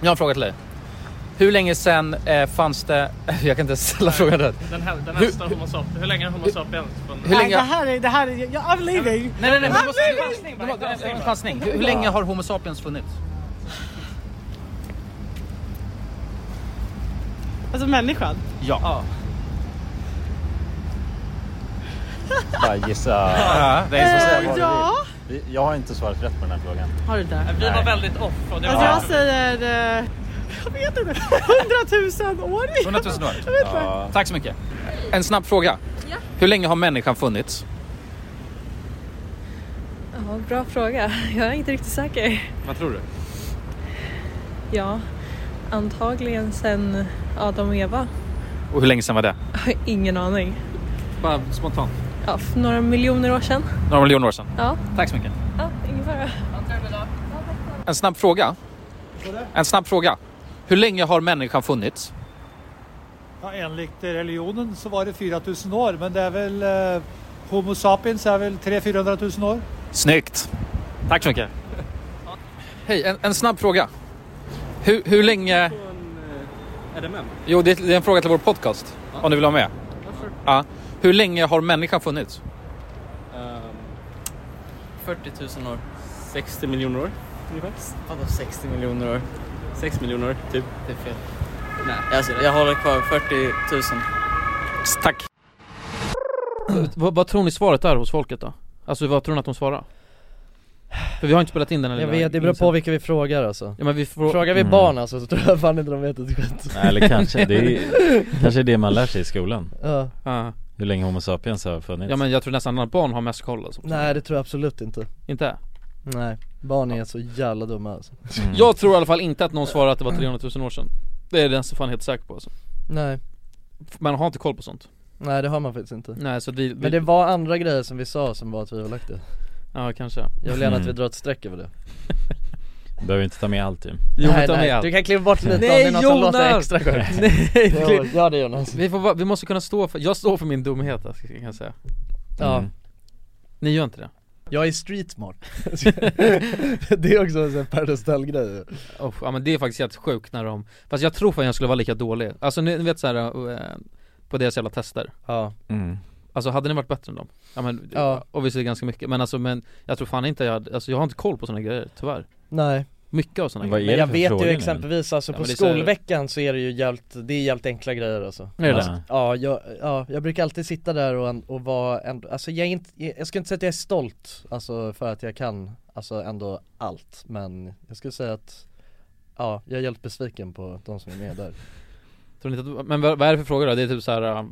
Speaker 5: Jag har en fråga till dig. Hur länge sedan eh, fanns det... Jag kan inte ställa frågan rätt.
Speaker 11: Den, här, den nästa Homo sapiens, hur länge har Homo sapiens funnits?
Speaker 5: Hur länge-
Speaker 10: Nej, det här är, det här är, jag- I'm leaving.
Speaker 5: Nej, nej, nej, men
Speaker 10: I'm
Speaker 5: måste-
Speaker 10: leaving.
Speaker 5: Det var- det var en chansning. Hur, hur länge har Homo sapiens funnits?
Speaker 10: Alltså människan.
Speaker 5: Ja.
Speaker 3: Bara gissa.
Speaker 5: Ja, det
Speaker 10: är så Eh, svårt. ja.
Speaker 3: Vi- Jag har inte svarat rätt på den här frågan.
Speaker 10: Har du inte?
Speaker 11: Vi var väldigt off och det
Speaker 10: Alltså
Speaker 11: var...
Speaker 10: jag säger, eh, jag vet inte, 100 000 år?
Speaker 5: 100 000 år.
Speaker 10: Jag vet inte.
Speaker 5: Tack så mycket. En snabb fråga. Hur länge har människan funnits?
Speaker 12: Ja, bra fråga. Jag är inte riktigt säker.
Speaker 6: Vad tror du?
Speaker 12: Ja, antagligen sen Adam och Eva.
Speaker 5: Och hur länge sedan var det?
Speaker 12: Jag har ingen aning.
Speaker 6: Bara spontant.
Speaker 12: Ja, för några miljoner år sedan.
Speaker 5: Några miljoner år sedan.
Speaker 12: Ja,
Speaker 5: Tack så mycket.
Speaker 12: ja ingen fara.
Speaker 5: En snabb fråga. En snabb fråga. Hur länge har människan funnits?
Speaker 13: Ja, enligt religionen så var det 4000 år, men det är väl eh, Homo sapiens är väl 300-400 000 år.
Speaker 5: Snyggt. Tack så mycket. Hej, en, en snabb fråga. Hur, hur länge...
Speaker 11: eh, Är det män?
Speaker 5: Jo, det är, det är en fråga till vår podcast. Om du vill ha med. Ja. Hur länge har människan funnits?
Speaker 11: 40 000 Ehm, år. 60 miljoner år ungefär. Vadå 60 miljoner år? 6 miljoner år, typ. Det är fel. Nej, jag, jag håller kvar 40 000.
Speaker 5: Tack.
Speaker 6: vad, vad tror ni svaret är hos folket då? Alltså vad tror ni att de svarar? För vi har inte spelat in den eller
Speaker 4: Jag vet, det beror på vilka vi frågar alltså
Speaker 6: Ja, men vi får-
Speaker 4: Frågar vi
Speaker 6: Mm.
Speaker 4: barn alltså så tror jag fan inte de vet ett skit
Speaker 3: Nej, Eller kanske, det är, kanske är det man lär sig i skolan.
Speaker 4: Ja.
Speaker 3: Hur länge Homo sapiens har funnits.
Speaker 6: Ja men jag tror nästan alla barn har mest koll alltså.
Speaker 4: Nej det tror jag absolut inte
Speaker 6: Inte?
Speaker 4: Nej, barn är så jävla dumma alltså
Speaker 3: Mm.
Speaker 6: Jag tror i alla fall inte att någon svarar att det var 300 000 år sedan Det är den som fan helt säker på alltså.
Speaker 4: Nej,
Speaker 6: Man har inte koll på sånt
Speaker 4: nej det har man faktiskt inte
Speaker 6: Nej, så vi- vi-
Speaker 4: Men det var andra grejer som vi sa som var tvivelaktiga
Speaker 6: Ja kanske
Speaker 4: Jag vill gärna att vi
Speaker 3: Mm.
Speaker 4: drar ett streck över det
Speaker 3: Behöver inte ta med allt ju.
Speaker 4: Nej, nej, du kan kliva bort lite om det är något som låter extra sjukt
Speaker 6: Nej
Speaker 4: Jo,
Speaker 6: klipp-
Speaker 4: Gör det Jonas
Speaker 6: Vi, får, bara- vi måste kunna stå för, jag står för min dumhet alltså, kan jag säga
Speaker 4: Ja.
Speaker 6: Ni gör inte det?
Speaker 4: Jag är streetsmart Det är också en sån här Paradise-grej
Speaker 6: Oh, ja men det är faktiskt helt sjukt när de, fast jag tror fan jag skulle vara lika dålig Alltså ni ni vet såhär, eh, på deras jävla tester
Speaker 4: Ja
Speaker 3: Mm.
Speaker 6: Alltså hade ni varit bättre än dem? Ja men,
Speaker 4: Ja.
Speaker 6: ja. obviously ganska mycket men alltså men jag tror fan inte jag, hade- alltså jag har inte koll på sådana grejer tyvärr
Speaker 4: Nej
Speaker 6: Mycket av sådana
Speaker 4: Men
Speaker 6: grejer
Speaker 4: jag vet ju exempelvis alltså
Speaker 6: Ja,
Speaker 4: på
Speaker 6: men det är så-
Speaker 4: skolveckan så är det ju jävligt, det är jävligt enkla grejer alltså
Speaker 6: Är det
Speaker 4: Alltså,
Speaker 6: det?
Speaker 4: Ja, jag, ja, jag brukar alltid sitta där och, en- och vara en, alltså jag är inte, jag skulle inte säga att jag är stolt alltså för att jag kan, alltså ändå allt men jag skulle säga att Ja, jag är jävligt besviken på de som är med där
Speaker 6: Tror ni inte att, du- men vad, vad är det för frågor då? Det är typ såhär, eh,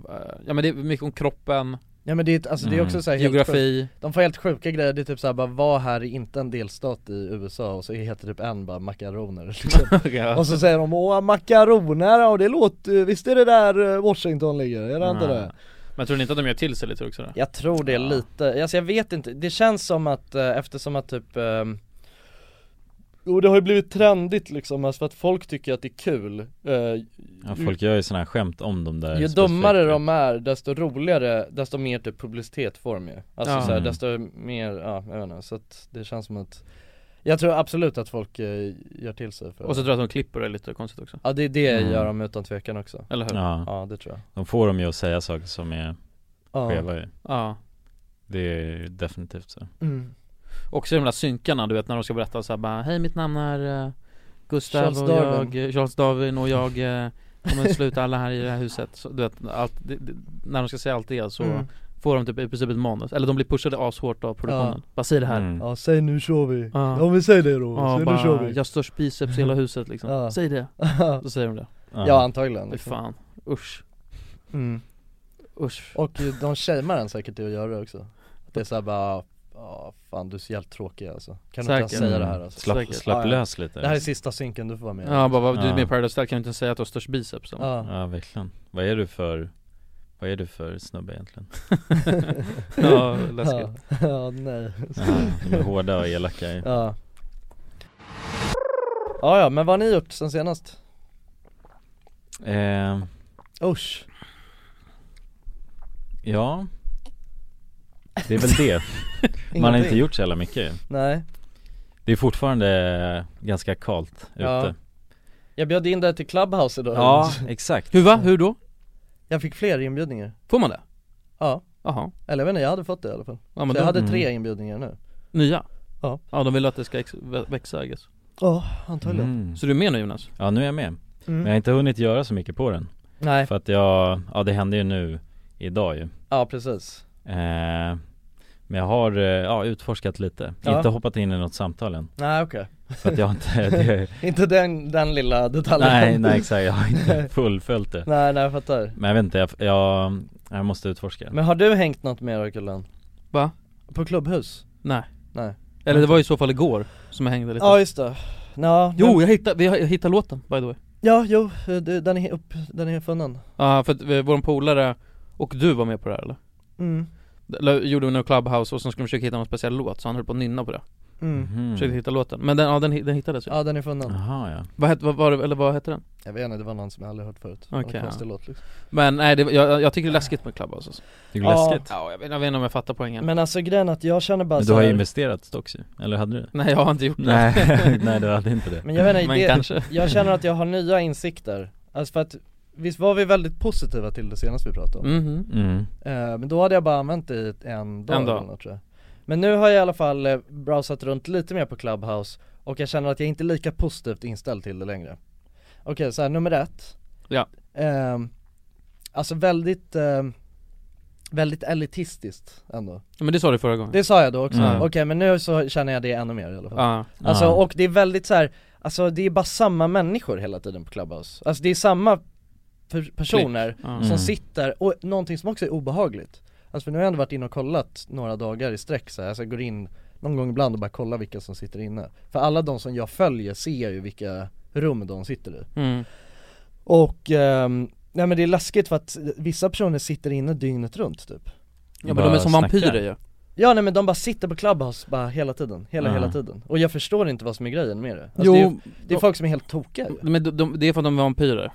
Speaker 6: ja men det är mycket om kroppen
Speaker 4: Ja men det är, alltså det är också så här helt
Speaker 6: Mm. Geografi
Speaker 4: sjukt. De får helt sjuka grejer, det är typ såhär bara vad här är inte en delstat i USA och så heter typ en bara makaroner liksom.
Speaker 6: ja.
Speaker 4: Och så säger de åh makaroner, och det låter, visst är det där eh, Washington ligger? Är det inte
Speaker 6: Mm.
Speaker 4: det?
Speaker 6: Men tror ni inte att de gör till sig lite också då?
Speaker 4: Jag tror det lite, alltså jag vet inte, det känns som att eh, eftersom att typ ehm, Jo det har ju blivit trendigt liksom, alltså för att folk tycker att det är kul eh,
Speaker 3: Ja, folk gör ju sådana här skämt om de där
Speaker 4: ju
Speaker 3: specifika-
Speaker 4: dummare de är desto roligare, desto mer typ publicitet får de ju Alltså
Speaker 3: Ja.
Speaker 4: så här,
Speaker 3: Mm.
Speaker 4: desto mer, ja jag vet inte, så att det känns som att Jag tror absolut att folk eh, gör till sig för
Speaker 6: Och så tror jag att de klipper det lite konstigt också
Speaker 4: Ja det är det
Speaker 3: Mm.
Speaker 4: gör de utan tvekan också
Speaker 6: Eller hur?
Speaker 3: Ja.
Speaker 4: ja det tror jag
Speaker 3: De får dem ju att säga saker som är
Speaker 4: Ja.
Speaker 3: skeva ju
Speaker 6: Ja.
Speaker 3: Det är ju definitivt så
Speaker 4: Mm.
Speaker 6: Också de där synkarna du vet när de ska berätta så här, bara Hej mitt namn är eh, Gustav
Speaker 4: Charles
Speaker 6: och
Speaker 4: Darwin."
Speaker 6: jag, eh, Charles Darwin och jag eh, kommer sluta alla här i det här huset så, Du vet, allt, det, det, när de ska säga allt det så
Speaker 4: Mm.
Speaker 6: får de typ i princip ett manus, eller de blir pushade ashårt av produktionen Bara säg det här
Speaker 3: Mm.
Speaker 4: Ja säg nu kör vi,
Speaker 6: Ja.
Speaker 4: ja men säg det då,
Speaker 6: Ja,
Speaker 4: säg nu
Speaker 6: bara,
Speaker 4: kör vi
Speaker 6: Jag har störst biceps i hela huset liksom,
Speaker 4: Ja.
Speaker 6: säg det Då säger de det
Speaker 4: Ja, antagligen.
Speaker 6: Fy fan, usch
Speaker 4: Mm.
Speaker 6: Usch.
Speaker 4: Och ju- de shamear en säkert i att göra det också Att Det är såhär bara, ja fan du är så jävligt tråkig alltså Kan du inte
Speaker 6: Säkert.
Speaker 4: ens säga det här alltså?
Speaker 3: Mm. Slapp- Säkert. slapp
Speaker 4: Ja, ja.
Speaker 3: lös lite.
Speaker 4: Det här är sista synken du får vara med i.
Speaker 6: Ja bara, vad- du är
Speaker 3: Ja.
Speaker 6: med i Paradise Hotel, kan du inte säga att du har störst biceps? då?
Speaker 4: Ja.
Speaker 3: Ja verkligen Vad är du för, vad är du för snubbe egentligen?
Speaker 6: Ja, läskigt.
Speaker 4: Ja, ja nej
Speaker 3: Ja, de är hårda och elaka ju.
Speaker 4: Ja Ja ja, men vad har ni gjort sen senast?
Speaker 3: Eh,
Speaker 4: Usch
Speaker 3: ja Det är väl det Man har inte
Speaker 4: Ingenting.
Speaker 3: gjort så jävla mycket
Speaker 4: Nej.
Speaker 3: Det är fortfarande ganska kallt ute
Speaker 4: Ja. Jag bjöd in dig till Clubhouse idag
Speaker 3: Ja, exakt
Speaker 6: Hur va? Hur då?
Speaker 4: Jag fick fler inbjudningar
Speaker 6: Får man det?
Speaker 4: Ja
Speaker 6: Jaha
Speaker 4: Eller jag vet inte, jag hade fått det i alla fall
Speaker 6: Ja, men
Speaker 4: Så jag
Speaker 6: då-
Speaker 4: hade
Speaker 6: Mm.
Speaker 4: tre inbjudningar nu
Speaker 6: Nya?
Speaker 4: Ja
Speaker 6: Ja de vill att det ska ex- vä- växa I guess.
Speaker 4: Ja, antagligen
Speaker 3: Mm.
Speaker 6: Så du är med nu Jonas?
Speaker 3: Ja nu är jag med Men jag har inte hunnit göra så mycket på den
Speaker 4: Nej.
Speaker 3: För att jag, ja det hände ju nu idag ju
Speaker 4: Ja precis
Speaker 3: eh, Men jag har, eh, ja utforskat lite
Speaker 4: Ja.
Speaker 3: Inte hoppat in i något samtal än
Speaker 4: Nej okej
Speaker 3: För att jag har inte, det,
Speaker 4: Inte den, den lilla detaljen
Speaker 3: nej nej exakt jag har inte fullföljt det
Speaker 4: Nej nej jag fattar
Speaker 3: Men jag vet inte, jag, jag, jag måste utforska
Speaker 4: Men har du hängt något mer då Kullen?
Speaker 6: Va?
Speaker 4: På klubbhus?
Speaker 6: Nej
Speaker 4: Nej
Speaker 6: Eller det var i så fall igår som jag hängde lite
Speaker 4: Ja just det Ja,
Speaker 6: Jo
Speaker 4: men-
Speaker 6: jag hittade, vi har- jag hittade låten by the way
Speaker 4: Ja jo, det- den är upp, den är funnen
Speaker 6: Ja för att vi- vår polare och du var med på det här eller?
Speaker 4: Mm.
Speaker 6: Eller gjorde vi någon clubhouse och sen skulle vi försöka hitta någon speciell låt så han höll på att nynna på det
Speaker 4: Mm. Mhm.
Speaker 6: Försökte hitta låten, men den, ja, den, hi- den hittades ju
Speaker 4: Ja den är funnen
Speaker 3: Jaha ja
Speaker 6: Vad hette, vad var det, eller vad hette den?
Speaker 4: Jag vet inte, det var någon som jag aldrig hört förut
Speaker 6: Okej
Speaker 4: okay,
Speaker 6: ja.
Speaker 4: konstig låt liksom
Speaker 6: Men nej, det, jag, jag tycker det är läskigt med clubhouse alltså.
Speaker 3: Tycker du det är
Speaker 4: Ja.
Speaker 3: läskigt?
Speaker 6: Ja jag vet, jag vet inte om jag fattar poängen
Speaker 4: Men alltså grejen är att jag känner bara
Speaker 3: Men
Speaker 4: så
Speaker 3: du har
Speaker 4: här,
Speaker 3: ju investerat stocks ju, eller hade du det?
Speaker 6: Nej, jag har inte gjort det.
Speaker 3: Nej, nej du hade inte det
Speaker 4: Men jag vet inte,
Speaker 6: Men
Speaker 4: det,
Speaker 6: kanske.
Speaker 4: jag känner att jag har nya insikter Alltså för att, visst var vi väldigt positiva till det senast vi pratade om?
Speaker 6: Mhm.
Speaker 3: Mm.
Speaker 4: Eh, men då hade jag bara använt det i en dag,
Speaker 6: En dag.
Speaker 4: eller något, tror jag Men nu har jag i alla fall eh, browsat runt lite mer på Clubhouse och jag känner att jag inte är lika positivt inställd till det längre Okej så här, nummer ett
Speaker 6: Ja.
Speaker 4: Ehm, Alltså väldigt, ehm, väldigt elitistiskt ändå
Speaker 6: Men det sa du förra gången
Speaker 4: Det sa jag då också,
Speaker 6: Mm.
Speaker 4: okej men nu så känner jag det ännu mer i alla fall
Speaker 6: Ja. Mm.
Speaker 4: Alltså
Speaker 6: Ja.
Speaker 4: och det är väldigt så här, alltså det är bara samma människor hela tiden på Clubhouse Alltså det är samma per- personer
Speaker 6: Klick. Ja.
Speaker 4: som
Speaker 6: Mm.
Speaker 4: sitter, och någonting som också är obehagligt Alltså för nu har jag ändå varit inne och kollat några dagar i sträck så här. alltså jag går in någon gång ibland och bara kollar vilka som sitter inne För alla de som jag följer ser ju vilka rum de sitter i
Speaker 6: Mm.
Speaker 4: Och, ehm, nej men det är läskigt för att vissa personer sitter inne dygnet runt typ
Speaker 6: Ja men de är som vampyrer ju Alltså,
Speaker 4: Ja nej men de bara sitter på Clubhouse bara hela tiden, hela
Speaker 6: Ja.
Speaker 4: hela tiden Och jag förstår inte vad som är grejen med det alltså,
Speaker 6: Jo,
Speaker 4: det, är, det är
Speaker 6: då-
Speaker 4: folk som är helt tokiga ju.
Speaker 6: Men de, de, det är för att de är vampyrer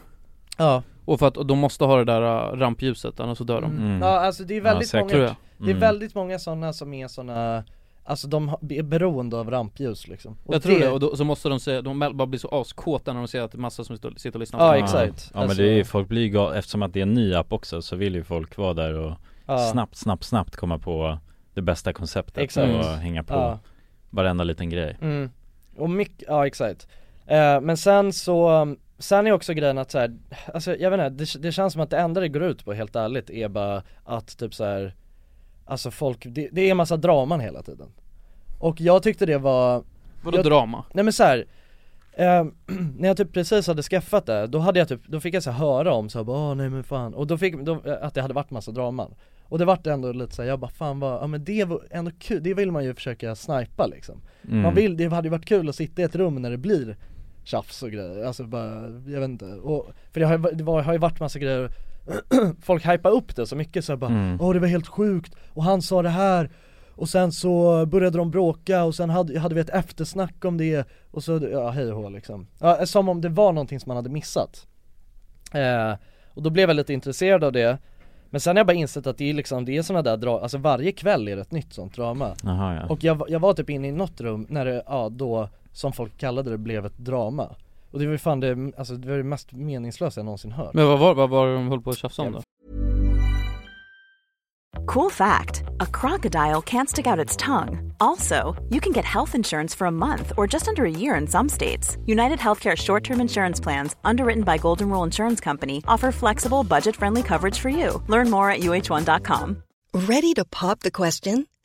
Speaker 4: Ja
Speaker 6: Och för att och de måste ha det där äh, rampljuset annars så dör de
Speaker 4: Ja alltså det är väldigt många,
Speaker 6: Tror jag.
Speaker 4: det är väldigt många sådana som är sådana Alltså de har- är beroende av rampljus liksom Och
Speaker 6: Jag tror det, och då, så måste de se, de bara blir så askåta när de ser att det är massa som står- sitter och lyssnar på dem.
Speaker 3: Ja men
Speaker 4: Alltså-
Speaker 3: det är ju, folk blir ju gal- eftersom att det är en ny app också så vill ju folk vara där och
Speaker 6: Ja.
Speaker 3: snabbt, snabbt, snabbt komma på det bästa konceptet
Speaker 4: Exakt.
Speaker 3: och hänga på
Speaker 4: Ja.
Speaker 3: varenda liten grej
Speaker 4: Mm. Och mycket, ja exakt. Eh, men sen så, sen är också grejen att så här, alltså jag vet inte, det, det känns som att det enda det går ut på helt ärligt är bara att typ så här, alltså folk, det, det är en massa draman hela tiden. Och jag tyckte det var
Speaker 6: Vadå
Speaker 4: jag,
Speaker 6: drama?
Speaker 4: Nej men så här. Eh, när jag typ precis hade skaffat det, då hade jag typ, då fick jag så här höra om så här, bara, "Åh, nej men fan, och då fick, då, eh, att det hade varit massa draman Och det vart ändå lite såhär, jag bara fan vad, ja men det var ändå kul, det vill man ju försöka snipa liksom
Speaker 3: Mm.
Speaker 4: Man vill, det hade ju varit kul att sitta i ett rum när det blir tjafs och grejer, alltså bara, jag vet inte, och, för det har, ju- det var, har ju varit massa grejer Folk hypar upp det så mycket så här bara,
Speaker 10: Mm.
Speaker 4: åh det var helt sjukt, och han sa det här och sen så började de bråka och sen hade, hade vi ett eftersnack om det och så, ja hej och hå liksom. Ja, som om det var någonting som man hade missat. Eh, och då blev jag lite intresserad av det. Men sen har jag bara insett att det är liksom, det är såna där dra, alltså varje kväll är det ett nytt sånt drama.
Speaker 3: Jaha ja
Speaker 4: Och jag, var- jag var typ inne i något rum när det, ja då, som folk kallade det, blev ett drama. Och det var ju fan det, alltså det var det mest meningslösa jag någonsin hört.
Speaker 6: Men vad var, vad var det de höll på att tjafsa om då?
Speaker 1: Cool fact a crocodile can't stick out its tongue. Also, you can get health insurance for a month or just under a year in some states. United Healthcare short term insurance plans, underwritten by Golden Rule Insurance Company, offer flexible, budget friendly coverage for you. Learn more at uh1.com.
Speaker 2: Ready to pop the question?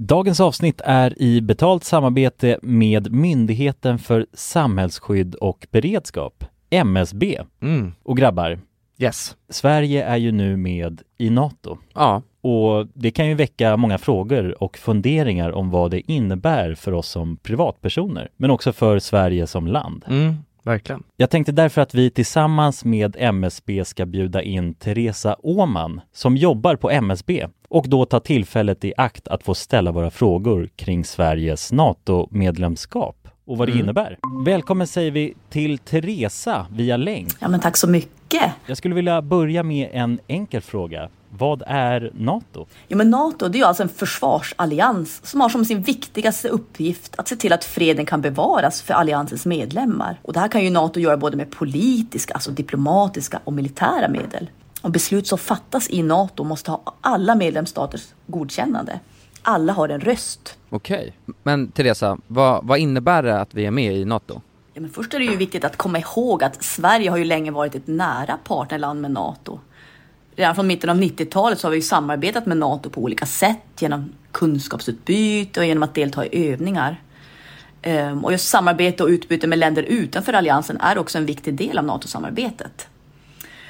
Speaker 3: Dagens avsnitt är i betalt samarbete med Myndigheten för samhällsskydd och beredskap, MSB.
Speaker 4: Mm.
Speaker 3: Och grabbar,
Speaker 4: Yes.
Speaker 3: Sverige är ju nu med i NATO.
Speaker 6: Ja.
Speaker 3: Och det kan ju väcka många frågor och funderingar om vad det innebär för oss som privatpersoner, men också för Sverige som land.
Speaker 4: Mm, verkligen.
Speaker 3: Jag tänkte därför att vi tillsammans med MSB ska bjuda in Teresa Åman som jobbar på MSB och då ta tillfället i akt att få ställa våra frågor kring Sveriges NATO-medlemskap och vad det
Speaker 14: Mm.
Speaker 3: innebär. Välkommen säger vi till Teresa via länk.
Speaker 14: Ja, men tack så mycket.
Speaker 3: Jag skulle vilja börja med en enkel fråga. Vad är NATO?
Speaker 14: Jo, men Nato det är ju alltså en försvarsallians som har som sin viktigaste uppgift att se till att freden kan bevaras för alliansens medlemmar. Och det här kan ju Nato göra både med politiska, alltså diplomatiska och militära medel. Och beslut som fattas i Nato måste ha alla medlemsstaters godkännande. Alla har en röst.
Speaker 6: Okej. Men Teresa, vad, vad innebär det att vi är med i NATO?
Speaker 14: Ja, men först är det ju viktigt att komma ihåg att Sverige har ju länge varit ett nära partnerland med NATO. Redan från mitten av 90-talet så har vi ju samarbetat med NATO på olika sätt genom kunskapsutbyte och genom att delta i övningar. Ehm, Och just samarbete och utbyte med länder utanför alliansen är också en viktig del av NATO-samarbetet.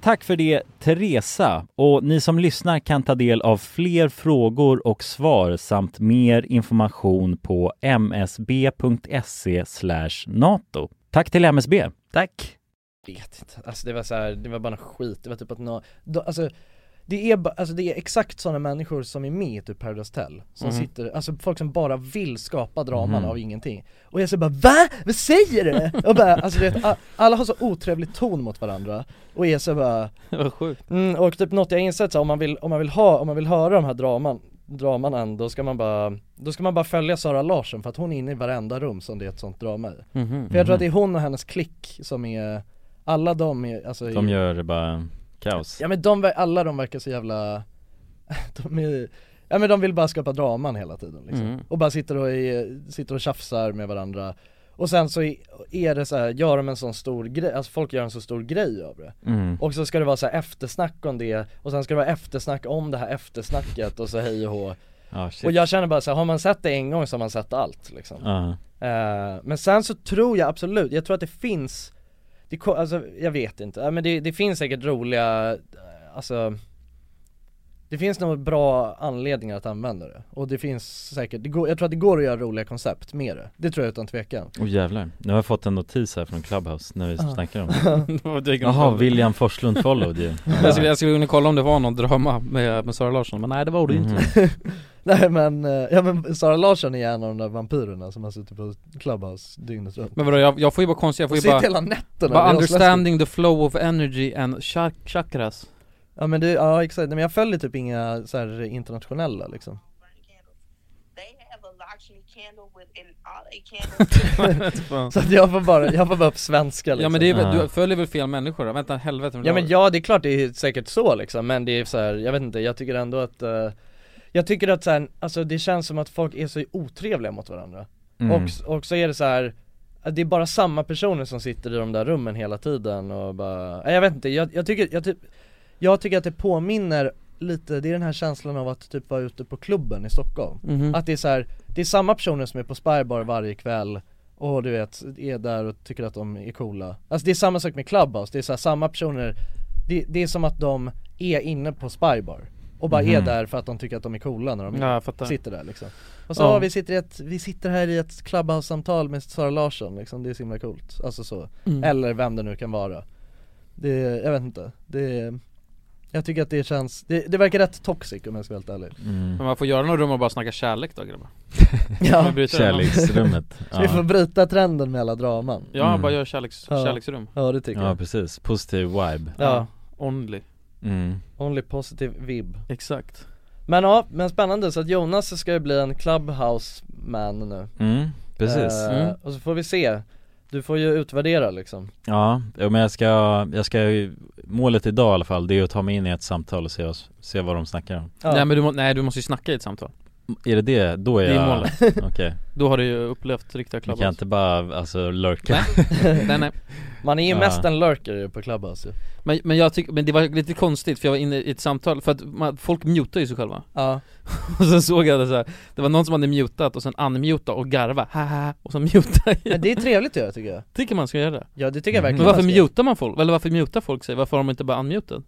Speaker 3: Tack för det Teresa och ni som lyssnar kan ta del av fler frågor och svar samt mer information på msb.se E NATO. Tack till MSB.
Speaker 4: Tack. vet inte, alltså det var så här, det var bara skit, det var typ att nå, då, alltså det är, ba- alltså det är exakt sådana människor som är med i typ Paradise Tell, som
Speaker 15: Mhm.
Speaker 4: sitter, alltså folk som bara vill skapa draman
Speaker 15: Mhm.
Speaker 4: av ingenting Och jag säger bara VA? Vad säger du? Och bara, alltså du vet, a- alla har så otrevlig ton mot varandra Och är så bara
Speaker 6: Vad sjukt
Speaker 4: mm, Och typ något jag insett så här, om man vill, om man vill ha, om man vill höra de här draman, draman än, då ska man bara, då ska man bara följa Sara Larsson för att hon är inne i varenda rum som det är ett sånt drama i
Speaker 3: Mhm.
Speaker 4: För jag tror att det är hon och hennes klick som är, alla de är, alltså
Speaker 3: De
Speaker 4: är-
Speaker 3: gör bara kaos.
Speaker 4: Ja men de, ver- alla de verkar så jävla, de är, ja men de vill bara skapa draman hela tiden liksom.
Speaker 3: Mm.
Speaker 4: Och bara sitter och, är, sitter och tjafsar med varandra Och sen så är- är det så här, gör de en sån stor grej, alltså folk gör en så stor grej av det
Speaker 3: Mm.
Speaker 4: Och så ska det vara så här eftersnack om det, och sen ska det vara eftersnack om det här eftersnacket och så hej och hå
Speaker 3: Ja,
Speaker 4: Och
Speaker 3: Ah, shit.
Speaker 4: jag känner bara så här, har man sett det en gång så har man sett allt liksom
Speaker 3: Typ. Ja.
Speaker 4: Eh, Men sen så tror jag absolut, jag tror att det finns det, ko- Alltså jag vet inte, Eh, men det, det finns säkert roliga, eh, alltså Det finns nog bra anledningar att använda det och det finns säkert, det går, jag tror att det går att göra roliga koncept med det Det tror jag utan tvekan
Speaker 3: Åh Oh, jävlar, nu har jag fått en notis här från Clubhouse när vi
Speaker 4: Ja.
Speaker 3: snackar om
Speaker 6: Vad
Speaker 3: det
Speaker 6: dyker upp?
Speaker 3: Jaha, William Forslund followed you
Speaker 6: jag,
Speaker 4: Alltså,
Speaker 6: skulle, jag skulle vilja kolla om det var någon drama med, med Sara Larsson, men nej det var det ju
Speaker 3: Mm. Mhm.
Speaker 4: Mm.
Speaker 6: inte
Speaker 4: Nej men, eh, ja men Sara Larsson är en av de där vampyrerna som har suttit på Clubhouse dygnet runt
Speaker 6: Men vadå, jag, jag får ju bara konstigt, jag får ju
Speaker 4: Sitter
Speaker 6: bara...
Speaker 4: hela nätterna, det
Speaker 6: bara
Speaker 4: är asläskigt.
Speaker 6: understanding the flow of energy and chak- chakras
Speaker 4: Ja men det, ja exakt, Nej, men jag följer typ inga så här internationella liksom Så att jag får bara, jag får bara upp svenska liksom
Speaker 6: Ja men det är väl, du följer väl fel människor då? Vänta, helvete
Speaker 4: Ja men ja, det är klart det är säkert så liksom, men det är så här, jag vet inte, jag tycker ändå att eh, Jag tycker att så här, alltså det känns som att folk är så otrevliga mot varandra
Speaker 15: Mm.
Speaker 4: och, s- och så är det så här att Det är bara samma personer som sitter i de där rummen hela tiden och bara, nej jag vet inte, jag, jag tycker, jag typ Jag tycker att det påminner lite, det är den här känslan av att typ vara ute på klubben i Stockholm
Speaker 6: Mhm.
Speaker 4: Att det är så här, det är samma personer som är på Spybar varje kväll och du vet, är där och tycker att de är coola Alltså det är samma sak med Clubhouse, det är så här, samma personer det, det är som att de är inne på Spybar och bara är
Speaker 6: Mhm.
Speaker 4: där för att de tycker att de är coola när de
Speaker 6: Ja, jag fattar.
Speaker 4: sitter där liksom Och så,
Speaker 6: Ja.
Speaker 4: "Ah, vi, sitter i ett, vi sitter här i ett Clubhouse-samtal med Sara Larsson liksom, det är så himla coolt Alltså så,
Speaker 6: Mm.
Speaker 4: eller vem det nu kan vara Det, jag vet inte, det jag tycker att det känns, det, det verkar rätt toxic om jag ska vara helt ärlig
Speaker 3: Mm.
Speaker 6: Men man får göra något rum och bara snacka kärlek då grabbar
Speaker 4: Ja.
Speaker 6: Man bryter den.
Speaker 4: Vi får bryta trenden med alla draman
Speaker 6: Ja, Mm. bara gör kärleks-
Speaker 4: Ja.
Speaker 6: kärleksrum.
Speaker 4: Ja det tycker
Speaker 3: Ja
Speaker 4: jag
Speaker 3: precis, positiv vibe
Speaker 4: Ja.
Speaker 6: Only
Speaker 3: Mm.
Speaker 4: Only positive vib
Speaker 6: Exakt
Speaker 4: Men ja, men spännande så att Jonas ska ju bli en clubhouse man nu
Speaker 3: Mm, precis.
Speaker 4: Eh,
Speaker 3: Mm.
Speaker 4: Och så får vi se Du får ju utvärdera liksom
Speaker 3: Ja, jo, men jag ska, jag ska ju- målet idag i alla fall det är att ta mig in i ett samtal och se, oss- se vad de snackar om
Speaker 6: Nej men du, må, nej, du måste ju snacka i ett samtal
Speaker 3: Är det det? Då är
Speaker 6: Det är
Speaker 3: jag,
Speaker 6: målet.
Speaker 3: okej
Speaker 6: Då har du ju upplevt riktiga
Speaker 3: Jag kan
Speaker 6: Clubhouse
Speaker 3: inte bara, alltså lurka
Speaker 6: Nej, nej, nej.
Speaker 4: Man är ju
Speaker 6: Ja.
Speaker 4: mest en lurker ju på clubhouse ju.
Speaker 6: Men, men jag tycker, men det var lite konstigt för jag var inne i ett samtal, för att man, folk mutar ju sig själva
Speaker 4: Ja
Speaker 6: Och sen såg jag det så här, det var någon som hade mutat och sen unmuta och garva, haha, och sen muta igen
Speaker 4: Men det är trevligt att göra tycker jag
Speaker 6: Tycker man ska göra det?
Speaker 4: Ja det tycker jag verkligen
Speaker 6: Men varför
Speaker 4: Mm. man ska.
Speaker 6: mutar man folk? Eller varför mutar folk sig? Varför har de inte bara unmuted?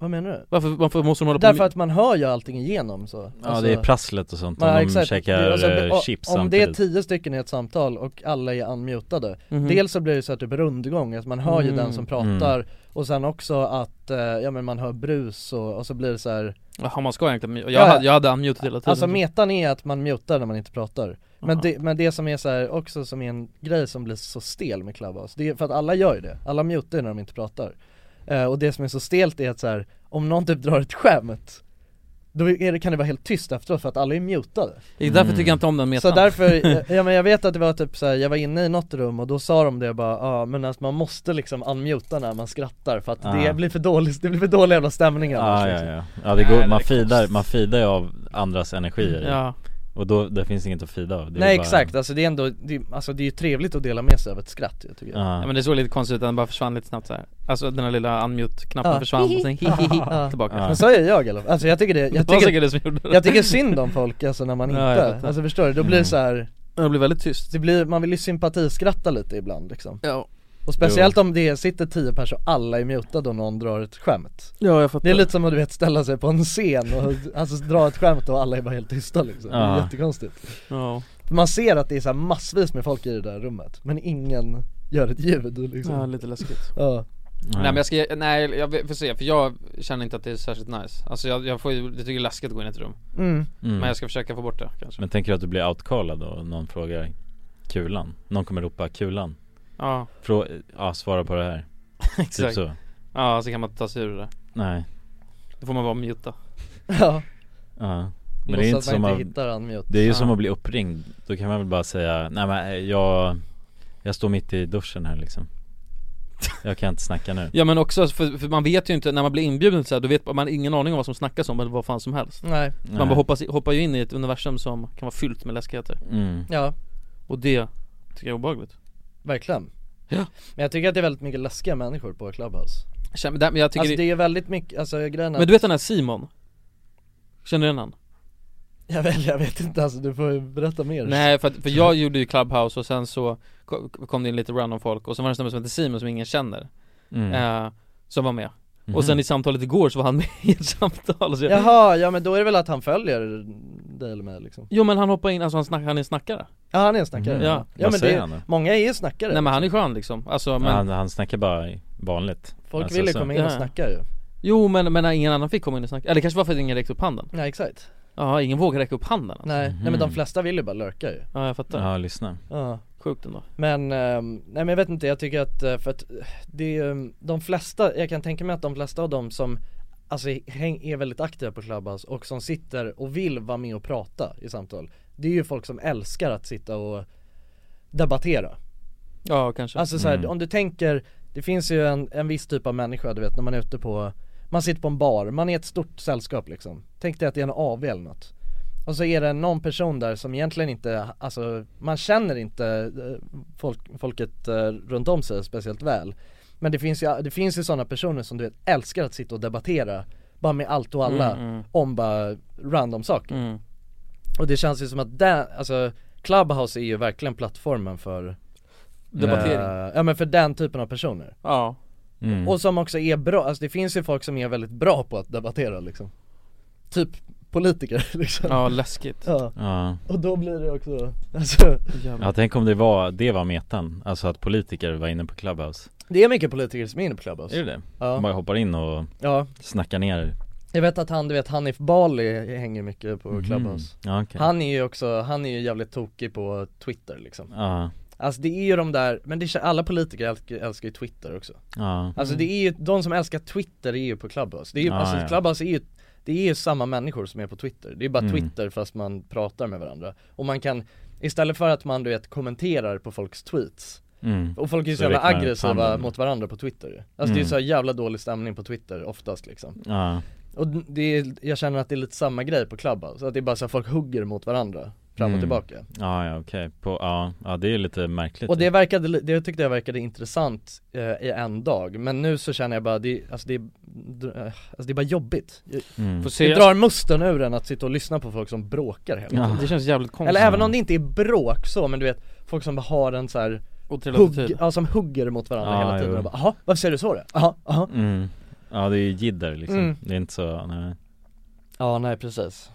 Speaker 4: Vad menar du?
Speaker 6: Varför, varför måste de hålla på
Speaker 4: Därför att man hör ju allting igenom så Alltså,
Speaker 3: Ja,
Speaker 6: alltså-
Speaker 3: det är prasslet och sånt, om de käkar,
Speaker 4: Det- alltså,
Speaker 3: eh,
Speaker 4: det- o-
Speaker 3: chips
Speaker 4: Om det är
Speaker 3: samtidigt.
Speaker 4: tio stycken i ett samtal och alla är unmutade
Speaker 3: Mhm.
Speaker 4: Dels så blir det så att typ rundgång, att man hör ju
Speaker 3: Mm.
Speaker 4: den som pratar och sen också att, eh, ja men man hör brus och, och så blir det så här.
Speaker 6: Jaha man ska egentligen, jag,
Speaker 4: Ja, ja.
Speaker 6: hade, jag hade unmutat hela tiden
Speaker 4: Alltså metan är att man mutar när man inte pratar men det, men det som är så här också som är en grej som blir så stel med Clubhouse, det är för att alla gör ju det, alla mutar ju när de inte pratar Eh, Och det som är så stelt är att så här, om någon typ drar ett skämt då är det, kan det vara helt tyst efteråt för att alla är mutade
Speaker 6: Det är därför Mm. tycker jag inte om den metan.
Speaker 4: Så därför, eh, ja men jag vet att det var typ så här, jag var inne i något rum och då sa de det bara, ja men att man måste liksom unmuta när man skrattar för att
Speaker 3: Ah.
Speaker 4: det blir för dålig, det blir för dålig jävla stämning annars,
Speaker 3: Ja, ja,
Speaker 4: liksom.
Speaker 3: ja. ja det går, man feedar, man feedar ju av andras energier
Speaker 4: Ja.
Speaker 3: Och då, det finns inget att feeda av det är
Speaker 4: Nej
Speaker 3: bara-
Speaker 4: exakt, alltså det är ändå, det, alltså det är ju trevligt att dela med sig av ett skratt jag tycker jag
Speaker 6: Ja men det såg lite konstigt ut, den bara försvann lite snabbt så här. Alltså den här lilla unmute-knappen
Speaker 4: Ja.
Speaker 6: försvann och sen hihihi
Speaker 4: Ja.
Speaker 6: tillbaka
Speaker 4: Men så är jag i alla fall. alltså jag tycker det,
Speaker 6: Det var
Speaker 4: jag tycker,
Speaker 6: säkert det som gjorde det.
Speaker 4: jag tycker synd om folk alltså när man
Speaker 6: Ja,
Speaker 4: inte,
Speaker 6: jag fattar.
Speaker 4: alltså förstår du, då blir det
Speaker 6: Mm.
Speaker 4: så här.
Speaker 6: Det blir väldigt tyst
Speaker 4: det blir, Man vill ju sympatiskratta lite ibland liksom
Speaker 6: Ja
Speaker 4: Och speciellt om det sitter tio personer och alla är mutade och någon drar ett skämt
Speaker 6: Ja, jag fattar.
Speaker 4: Det är lite som att du vet ställa sig på en scen och alltså dra ett skämt och alla är bara helt tysta liksom, det är
Speaker 6: Ja.
Speaker 4: jättekonstigt
Speaker 6: Ja.
Speaker 4: För Man ser att det är så här massvis med folk i det där rummet, men ingen gör ett ljud liksom
Speaker 6: Ja, lite läskigt
Speaker 4: Ja
Speaker 6: Nej men jag ska, nej jag vet- får se, för jag känner inte att det är särskilt nice Alltså jag, jag får ju, jag tycker det är läskigt att gå in i ett rum
Speaker 4: Mm.
Speaker 3: Mm.
Speaker 6: Men jag ska försöka få bort det kanske
Speaker 3: Men tänker du att du blir outcallad och någon frågar kulan? Någon kommer ropa kulan?
Speaker 6: Ja.
Speaker 3: Frå- ja, svara på det här
Speaker 6: Exakt
Speaker 3: Typ så
Speaker 6: Ja, så kan man inte ta sig ur det där
Speaker 3: Nej,
Speaker 6: Då får man vara muta
Speaker 4: Ja
Speaker 3: ja
Speaker 4: Låtsas man inte hittar en mute.
Speaker 3: Det är ju som
Speaker 4: Ja.
Speaker 3: att bli uppringd Då kan man väl bara säga, nej men eh, jag, jag står mitt i duschen här liksom Jag kan inte snacka nu
Speaker 6: Ja men också, för, för man vet ju inte, när man blir inbjuden så här, då vet man- man har ingen aning om vad som snackas om eller vad fan som helst
Speaker 4: Nej.
Speaker 6: Man
Speaker 3: Nej.
Speaker 6: bara hoppas, hoppar ju in i ett universum som kan vara fyllt med läskigheter
Speaker 3: Mm.
Speaker 4: Ja.
Speaker 6: Och det tycker jag är obehagligt
Speaker 4: Verkligen Men jag tycker att det är väldigt mycket läskiga människor på Clubhouse
Speaker 6: Känn- men där- men jag tycker
Speaker 4: Alltså
Speaker 6: det-
Speaker 4: det är väldigt mycket, alltså grejen är
Speaker 6: Men du vet den här Simon? Känner du igen han?
Speaker 4: jag vet, jag vet inte alltså, du får ju berätta mer
Speaker 6: Nej för, att, för jag gjorde ju Clubhouse och sen så ko- kom det in lite random folk och så var det en snubbe som hette Simon som ingen känner
Speaker 4: Mm.
Speaker 6: eh, Som var med
Speaker 4: Mhm.
Speaker 6: Och sen i samtalet igår så var han med i ett samtal så jag,
Speaker 4: Jaha, ja men då är det väl att han följer dig eller mig liksom
Speaker 6: Jo men han hoppar in, alltså han, snack, han är en snackare
Speaker 4: Ja han är en snackare
Speaker 6: Mhm.
Speaker 4: ja,
Speaker 6: Ja.
Speaker 4: ja
Speaker 3: Vad
Speaker 4: men
Speaker 3: säger
Speaker 4: det,
Speaker 3: han då?
Speaker 4: många är ju snackare
Speaker 6: Nej men han är skön liksom, alltså men
Speaker 3: han, han snackar bara vanligt
Speaker 4: Folk
Speaker 3: Alltså,
Speaker 4: vill ju
Speaker 3: så-
Speaker 4: komma in och snacka ju
Speaker 6: Jo men, men när ingen annan fick komma in och snacka, eller kanske var för att ingen räckte upp handen
Speaker 4: Nej exakt
Speaker 6: Ja, ingen vågar räcka upp handen alltså.
Speaker 4: Nej, nej men de flesta vill ju bara lurka ju
Speaker 6: Ja jag fattar
Speaker 3: Ja, lyssna
Speaker 4: Ja.
Speaker 6: Sjukt ändå
Speaker 4: Men, ehm, nej men jag vet inte, jag tycker att, eh, för att eh, det är, ehm, de flesta, jag kan tänka mig att de flesta av dem som Alltså häng- är väldigt aktiva på Clubhouse och som sitter och vill vara med och prata i samtal Det är ju folk som älskar att sitta och debattera
Speaker 6: Ja kanske
Speaker 4: Alltså så här, om du tänker, det finns ju en, en viss typ av människa du vet när man är ute på Man sitter på en bar, man är ett stort sällskap liksom Tänk dig att det är en AV eller något Och så är det någon person där som egentligen inte, alltså man känner inte eh, folk, folket eh, runt om sig speciellt väl Men det finns ju, det finns ju sådana personer som du vet älskar att sitta och debattera Bara med allt och alla
Speaker 6: Mm, mm.
Speaker 4: om bara random saker Och det känns ju som att den, alltså Clubhouse är ju verkligen plattformen för
Speaker 6: Debattering.
Speaker 4: eh, Ja men för den typen av personer
Speaker 6: Ja
Speaker 3: Mm.
Speaker 4: Och som också är bra, alltså det finns ju folk som är väldigt bra på att debattera liksom Typ politiker liksom
Speaker 6: Ja, läskigt
Speaker 4: Ja,
Speaker 3: Ja.
Speaker 4: och då blir det också, alltså
Speaker 3: Ja tänk om det var, det var metan, alltså att politiker var inne på Clubhouse
Speaker 4: Det är mycket politiker som är inne på Clubhouse
Speaker 3: Är det det?
Speaker 4: Ja.
Speaker 3: De bara hoppar in och
Speaker 4: Ja.
Speaker 3: snackar ner
Speaker 4: Jag vet att han, du vet Hanif Bali hänger mycket på
Speaker 3: Mhm.
Speaker 4: Clubhouse
Speaker 3: Ja, okej.
Speaker 4: Han är ju också, han är ju jävligt tokig på Twitter liksom
Speaker 3: Ja.
Speaker 4: Alltså det är ju de där, men det, kän- alla politiker älskar, älskar ju Twitter också
Speaker 3: Ja.
Speaker 4: Alltså det är ju, de som älskar Twitter är ju på Clubhouse Det är ju,
Speaker 3: Ja,
Speaker 4: alltså
Speaker 3: Mm. Ah, ja.
Speaker 4: Clubhouse är ju det är ju samma människor som är på Twitter, det är bara
Speaker 3: Mm.
Speaker 4: Twitter fast man pratar med varandra Och man kan, istället för att man du vet kommenterar på folks tweets
Speaker 3: Mm.
Speaker 4: Och folk är ju så
Speaker 3: Så
Speaker 4: jävla
Speaker 3: räknar man
Speaker 4: aggressiva
Speaker 3: handen.
Speaker 4: mot varandra på Twitter ju. Alltså det är
Speaker 3: Mm.
Speaker 4: ju så här jävla dålig stämning på Twitter oftast liksom
Speaker 3: Ja.
Speaker 4: Och det är, jag känner att det är lite samma grej på Clubhouse, att det är bara så här folk hugger mot varandra fram och
Speaker 3: Mm.
Speaker 4: tillbaka
Speaker 3: Ja ja okej, på, ja, ja det är lite märkligt
Speaker 4: Och det verkade, li- det tyckte jag verkade intressant eh, i en dag, men nu så känner jag bara det, alltså det, är- d- eh, alltså det är bara jobbigt Jag-
Speaker 3: Mm.
Speaker 6: Får se-
Speaker 4: Det drar musten ur en att sitta och lyssna på folk som bråkar hela tiden
Speaker 6: Ja. Det känns jävligt konstigt.
Speaker 4: Eller även om det inte är bråk så, men du vet folk som bara har en så här
Speaker 6: Otrevlig
Speaker 4: hugg,
Speaker 6: attityd.
Speaker 4: ja, som hugger mot varandra
Speaker 3: Ja,
Speaker 4: hela tiden
Speaker 3: jo.
Speaker 4: och bara jaha, varför säger du så då? Jaha, jaha
Speaker 3: mm. Ja det är ju jidder liksom,
Speaker 4: Mm.
Speaker 3: det är inte så, nej
Speaker 4: Ja nej precis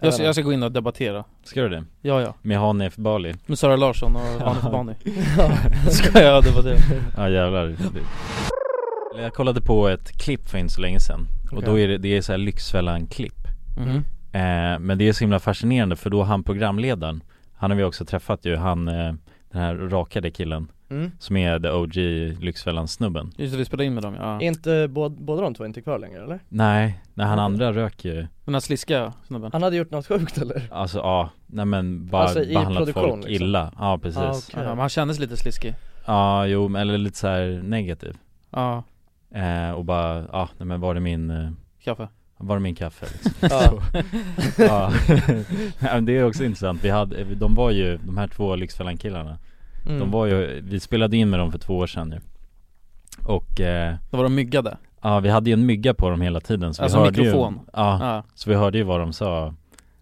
Speaker 6: jag ska, jag ska gå in och debattera
Speaker 3: Ska du det?
Speaker 6: Ja, ja.
Speaker 3: Med Hanif Bali?
Speaker 6: Med Sara Larsson och Hanif Bani
Speaker 4: Ja.
Speaker 6: Ska jag debattera
Speaker 3: Ja jävlar Det- Jag kollade på ett klipp för inte så länge sedan Och då
Speaker 6: Okej.
Speaker 3: är det, det är så här Lyxfällan-klipp
Speaker 6: Mhm.
Speaker 3: eh, Men det är så himla fascinerande för då han programledaren Han har vi också träffat ju, han eh, den här rakade killen
Speaker 4: Mm.
Speaker 3: Som är the OG Lyxfällan-snubben
Speaker 6: Just det, vi spelade in med dem ja
Speaker 4: Är inte båda, båda de två inte kvar längre eller?
Speaker 3: Nej, nej han andra rök ju
Speaker 6: Den här sliska snubben
Speaker 4: Han hade gjort något sjukt eller?
Speaker 3: Alltså ja, nej men bara
Speaker 4: Alltså, i
Speaker 3: behandlat
Speaker 4: produktion,
Speaker 3: folk
Speaker 4: liksom.
Speaker 3: illa Ja precis
Speaker 6: Ja, men han kändes lite sliskig
Speaker 3: Ja, jo, men eller lite så här negativ
Speaker 6: Ja.
Speaker 3: eh, Och bara, ja, nej men var det min eh,
Speaker 6: Kaffe.
Speaker 3: Var det min kaffe liksom?
Speaker 6: Ja.
Speaker 3: Så. ja. ja men det är också intressant, vi hade, eh, de var ju, de här två Lyxfällan-killarna
Speaker 6: Mm.
Speaker 3: De var ju, vi spelade in med dem för två år sedan nu Och eh,
Speaker 6: Då var de myggade
Speaker 3: Ja vi hade ju en mygga på dem hela tiden så
Speaker 6: Alltså
Speaker 3: vi hörde
Speaker 6: mikrofon.
Speaker 3: ju, ja,
Speaker 6: Ja.
Speaker 3: så vi hörde ju vad de sa Alltså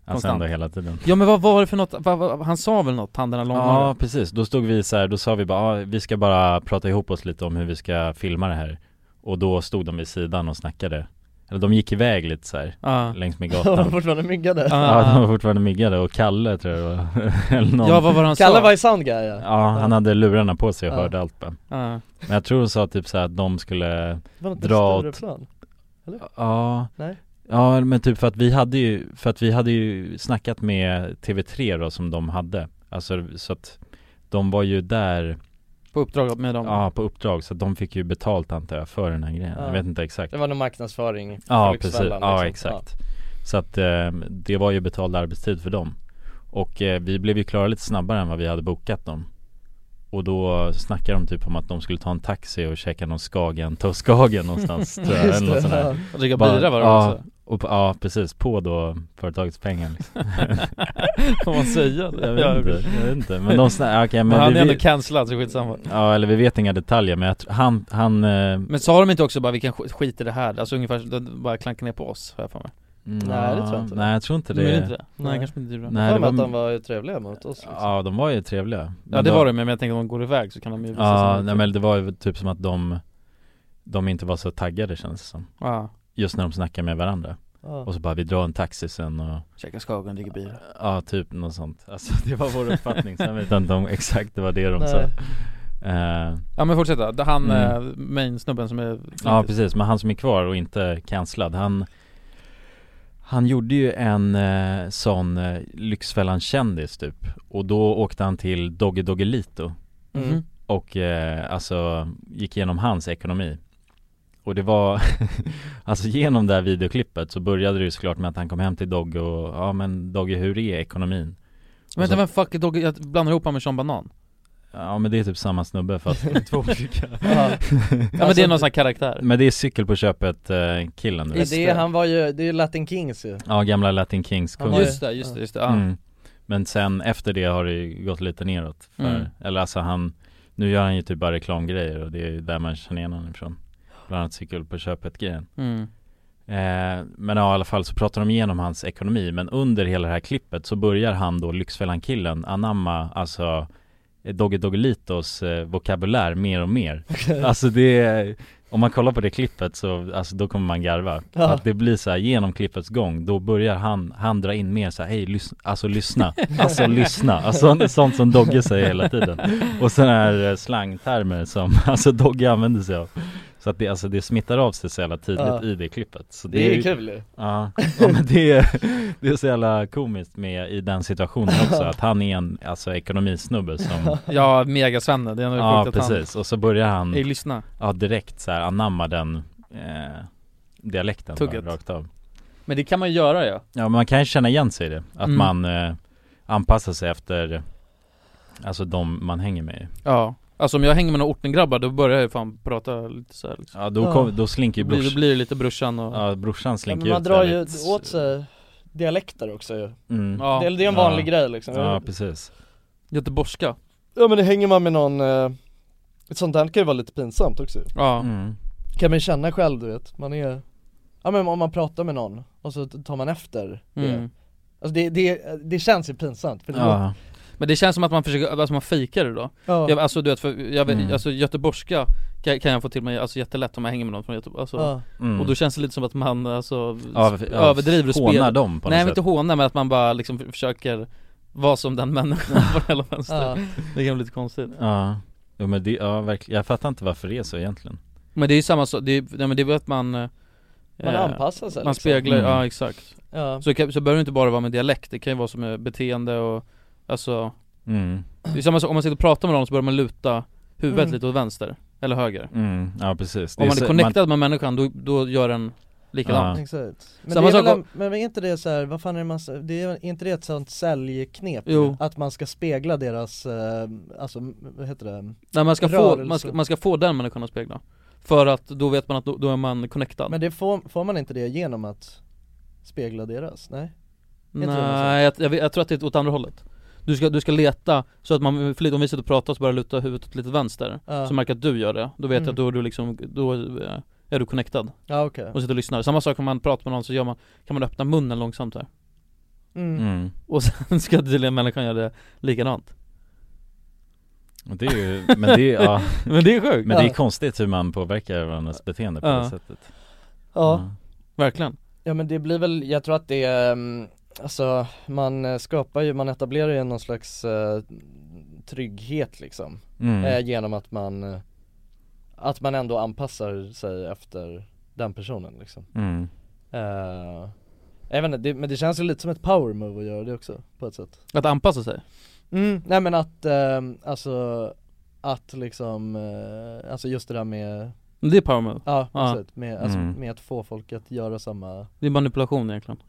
Speaker 6: Konstant.
Speaker 3: ändå hela tiden
Speaker 6: Ja men vad var det för något, vad, vad, han sa väl något, han den här långhåriga?
Speaker 3: Ja precis, då stod vi så här, då sa vi bara ah, vi ska bara prata ihop oss lite om hur vi ska filma det här Och då stod de vid sidan och snackade Eller de gick iväg lite så här,
Speaker 6: Ja.
Speaker 3: längs med
Speaker 4: De var
Speaker 3: gatan
Speaker 4: fortfarande myggade
Speaker 3: Ja de var fortfarande myggade och Kalle tror jag det var, eller någon
Speaker 6: Ja, vad Ah. var det han sa?
Speaker 4: Kalle var i Soundguy ja.
Speaker 3: Ja han hade lurarna på sig och
Speaker 4: Ja.
Speaker 3: hörde allt bara.
Speaker 6: Ja.
Speaker 3: Men jag tror de sa typ så här att de skulle
Speaker 4: Det var något
Speaker 3: dra
Speaker 4: större
Speaker 3: åt
Speaker 4: plan Eller?
Speaker 3: Ja
Speaker 4: Nej?
Speaker 3: Ja men typ för att vi hade ju, för att vi hade ju snackat med TV3 då som de hade Alltså så att de var ju där
Speaker 6: På uppdrag med dem?
Speaker 3: Ja på uppdrag så att de fick ju betalt antar jag för den här grejen,
Speaker 4: Ja.
Speaker 3: jag vet inte exakt
Speaker 4: Det var någon marknadsföring för
Speaker 3: Ja precis,
Speaker 4: Lyxfällan,
Speaker 3: ja
Speaker 4: liksom.
Speaker 3: exakt Så att eh, det var ju betald arbetstid för dem Och eh, vi blev ju klara lite snabbare än vad vi hade bokat dem Och då snackade de typ om att de skulle ta en taxi och käka någon Skagen, ta Skagen någonstans tror jag,
Speaker 6: Just
Speaker 3: eller något
Speaker 6: det,
Speaker 3: sånt
Speaker 6: ja.
Speaker 3: där
Speaker 6: Och dricka
Speaker 3: Bara-
Speaker 6: bira var det
Speaker 3: ja,
Speaker 6: också.
Speaker 3: och, på- ja precis, på då företagets pengar liksom.
Speaker 6: Får man säga det?
Speaker 3: Jag vet inte, jag vet inte Men de snackade, okej men,
Speaker 6: men han
Speaker 3: vi
Speaker 6: är ändå
Speaker 3: vet-
Speaker 6: cancellad så skitsamma
Speaker 3: Ja eller vi vet inga detaljer men jag tror, han, han eh,
Speaker 6: Men sa de inte också bara vi kan sk- skita i det här? Alltså ungefär, de bara klankar ner på oss har jag för mig
Speaker 4: Nej, det tror jag inte.
Speaker 3: Nej jag tror inte
Speaker 6: Men är
Speaker 3: det
Speaker 6: det inte det? Nej, kanske inte det.
Speaker 3: Nej, det
Speaker 4: var... att
Speaker 3: var,
Speaker 4: de var ju trevliga mot oss liksom.
Speaker 3: ja de var ju trevliga
Speaker 6: Ja
Speaker 3: Men
Speaker 6: det
Speaker 3: de-
Speaker 6: var det, men jag tänkte om de går iväg så kan de ju visa
Speaker 3: Ja,
Speaker 6: sig
Speaker 3: nej, men det var ju typ som att de De inte var så taggade känns det som
Speaker 6: Ja.
Speaker 3: Just när de snackar med varandra
Speaker 6: Ja.
Speaker 3: Och så bara vi drar en taxi sen och
Speaker 6: Käka Skagen, dricka bira
Speaker 3: Ja typ något sånt Alltså det var vår uppfattning Sen vet jag inte om exakt det var det de sa
Speaker 6: Nej.
Speaker 3: Eh,
Speaker 6: Ja men fortsätta, Det- han
Speaker 3: Mm.
Speaker 6: mm. main-snubben som är
Speaker 3: Ja precis, men han som är kvar och inte cancellad han han gjorde ju en eh, sån eh, Lyxfällan-kändis typ Och då åkte han till Dogge Doggelito
Speaker 4: Mm.
Speaker 6: Mhm.
Speaker 3: Och eh, alltså gick igenom hans ekonomi Och det var Alltså genom det här videoklippet så började det ju såklart med att han kom hem till Dogge och Ja men Dogge hur är ekonomin? Och
Speaker 6: Vänta
Speaker 3: så-
Speaker 6: vem fuck är Dogge, jag blandar ihop honom med Sean Banan
Speaker 3: Ja men det är typ samma snubbe fast två olika
Speaker 6: Ja. Ja, men Alltså, det är någon sån här karaktär.
Speaker 3: Men det är cykel på köpet eh, killen du
Speaker 4: Det,
Speaker 3: vet.
Speaker 4: det, han var ju, det är ju Latin Kings ju
Speaker 3: Ja, gamla Latin Kings
Speaker 4: Han
Speaker 3: kungen
Speaker 4: var ju-
Speaker 6: Just det, just det, just det, ja.
Speaker 3: Mm. Men sen efter det har det ju gått lite neråt för,
Speaker 6: Mm.
Speaker 3: Eller alltså han Nu gör han ju typ bara reklamgrejer och det är ju där man känner igen honom ifrån Bland annat cykel på köpet grejen
Speaker 6: Mm.
Speaker 3: Eh, men ja, i alla fall så pratar de igenom hans ekonomi men under hela det här klippet så börjar han då Lyxfällan-killen anamma alltså eh, Doggy Doggelitos eh, vokabulär mer och mer.
Speaker 4: Okej.
Speaker 3: Alltså det är, om man kollar på det klippet så, alltså då kommer man garva.
Speaker 4: Ja.
Speaker 3: Att det blir så här genom klippets gång, då börjar han, han dra in mer så här, hej lys- alltså lyssna, alltså lyssna, alltså sånt som Dogge säger hela tiden. Och sådana här eh, slangtermer som, alltså Dogge använder sig av. Så att det, alltså det smittar av sig så jävla tydligt
Speaker 4: Ja.
Speaker 3: i det klippet. Så
Speaker 4: Det är ju kul ju.
Speaker 3: Ja, ja men det är, det är så jävla komiskt med i den situationen också, att han är en, alltså ekonomisnubbe som
Speaker 6: Ja, megasvenne, det är nog
Speaker 3: Ja
Speaker 6: sjukt att han-
Speaker 3: precis, och så börjar han
Speaker 6: Ej, lyssna.
Speaker 3: Ja direkt så här anamma den eh, dialekten bara,
Speaker 6: Tugget.
Speaker 3: rakt av
Speaker 6: Men det kan man ju göra ja
Speaker 3: Ja men man kan ju känna igen sig i det, att
Speaker 6: Mm.
Speaker 3: man eh, anpassar sig efter Alltså de man hänger med
Speaker 6: Ja, alltså om jag hänger med några ortengrabbar då börjar jag ju fan prata lite så här, liksom.
Speaker 3: Ja då, kom, då slinker ju
Speaker 6: blir,
Speaker 3: brors,
Speaker 6: då blir det lite brorsan och
Speaker 3: ja, brorsan
Speaker 4: Ja,
Speaker 3: slinker
Speaker 4: men man
Speaker 3: ut
Speaker 4: drar
Speaker 3: där
Speaker 4: ju
Speaker 3: lite.
Speaker 4: åt sig dialekter också ju
Speaker 3: Mm.
Speaker 4: ja. det, det är en vanlig
Speaker 3: Ja.
Speaker 4: grej liksom
Speaker 3: Ja precis
Speaker 6: Göteborgska
Speaker 4: Ja men det hänger man med någon, eh, ett sånt där kan ju vara lite pinsamt också
Speaker 6: Ja
Speaker 3: Mm.
Speaker 4: Kan man känna själv du vet, man är Ja men om man pratar med någon och så tar man efter det
Speaker 6: Mm.
Speaker 4: Alltså det, det, det känns ju pinsamt för det
Speaker 6: Ja. Men det känns som att man försöker, alltså man fejkar det då
Speaker 4: Ja.
Speaker 6: jag, Alltså du vet, för jag vet,
Speaker 4: Mm.
Speaker 6: alltså göteborgska kan, kan jag få till mig alltså jättelätt om jag hänger med någon från Göteborg alltså,
Speaker 4: Ja.
Speaker 3: Mm.
Speaker 6: Och då känns det lite som att man alltså
Speaker 3: Ja,
Speaker 6: sp-
Speaker 3: ja,
Speaker 6: överdriver och
Speaker 3: hånar
Speaker 6: spelar
Speaker 3: dem på något
Speaker 6: Nej
Speaker 3: sätt.
Speaker 6: men inte håna men att man bara liksom f- försöker vara som den människan på hela vänster
Speaker 4: Ja.
Speaker 6: Det kan bli lite konstigt
Speaker 3: Ja, jo, men det, ja verkligen, jag fattar inte varför det är så egentligen
Speaker 6: Men det är ju samma sak, det är, nej, men det är väl att man eh,
Speaker 4: Man anpassar sig
Speaker 6: Man
Speaker 4: liksom.
Speaker 6: speglar,
Speaker 4: Mm.
Speaker 6: ja exakt
Speaker 4: Ja.
Speaker 6: så, det kan, så behöver det inte bara vara med dialekt, det kan ju vara som med beteende och Alltså
Speaker 3: Mm.
Speaker 6: Det är samma sak, om man sitter och pratar med någon så börjar man luta huvudet
Speaker 3: Mm.
Speaker 6: lite åt vänster Eller höger
Speaker 3: Mm, ja, precis. Det
Speaker 6: Om
Speaker 3: är
Speaker 6: man är,
Speaker 3: så-
Speaker 6: connectad med människan, då, då gör den likadant
Speaker 4: Ja. Exakt. Men,
Speaker 6: Samma
Speaker 4: det är
Speaker 6: sak
Speaker 4: väl,
Speaker 6: om-
Speaker 4: en- men är inte det så här, vad fan är det man, s- det är är inte det ett sånt säljknep?
Speaker 6: Jo.
Speaker 4: Att man ska spegla deras, eh, alltså m- vad heter det?
Speaker 6: Nej man ska, få,
Speaker 4: Rörelse.
Speaker 6: man, ska, man ska få den människan att spegla För att då vet man att då, då är man connectad
Speaker 4: Men det får, får man inte det genom att spegla deras? Nej? Är inte det något sånt?
Speaker 6: Nej, jag, jag, jag tror att det är åt andra hållet du ska, du ska leta så att man, för om vi sitter och pratar så börjar jag luta huvudet åt lite vänster
Speaker 4: Ja.
Speaker 6: Så märker jag att du gör det, då vet
Speaker 4: Mm.
Speaker 6: jag att då är du liksom, då eh, är du connectad
Speaker 4: Ja, okej.
Speaker 6: Och sitter och lyssnar, samma sak om man pratar med någon så gör man, kan man öppna munnen långsamt här
Speaker 4: Mm.
Speaker 3: Mm.
Speaker 6: Och sen ska tydligen människan göra det likadant
Speaker 3: Och Det är ju, men det är, ja.
Speaker 6: Men det är sjukt
Speaker 3: Men det är
Speaker 6: Ja.
Speaker 3: konstigt hur man påverkar varandras beteende på
Speaker 6: Ja.
Speaker 3: det sättet
Speaker 6: Mm.
Speaker 4: Ja
Speaker 6: Verkligen
Speaker 4: Ja men det blir väl, jag tror att det är, mm, alltså man eh, skapar ju, man etablerar ju någon slags eh, trygghet liksom
Speaker 3: Mm.
Speaker 4: eh, Genom att man, eh, att man ändå anpassar sig efter den personen liksom
Speaker 3: Mm.
Speaker 4: eh, Jag vet inte, det, men det känns ju lite som ett power move att göra det också på ett sätt
Speaker 6: Att anpassa sig?
Speaker 4: Mm, nej men att, eh, alltså att liksom, eh, alltså just det där med
Speaker 6: Men Det är power move
Speaker 4: Ja, absolut. Med, alltså,
Speaker 6: Mm.
Speaker 4: med att få folk att göra samma
Speaker 6: Det är manipulation egentligen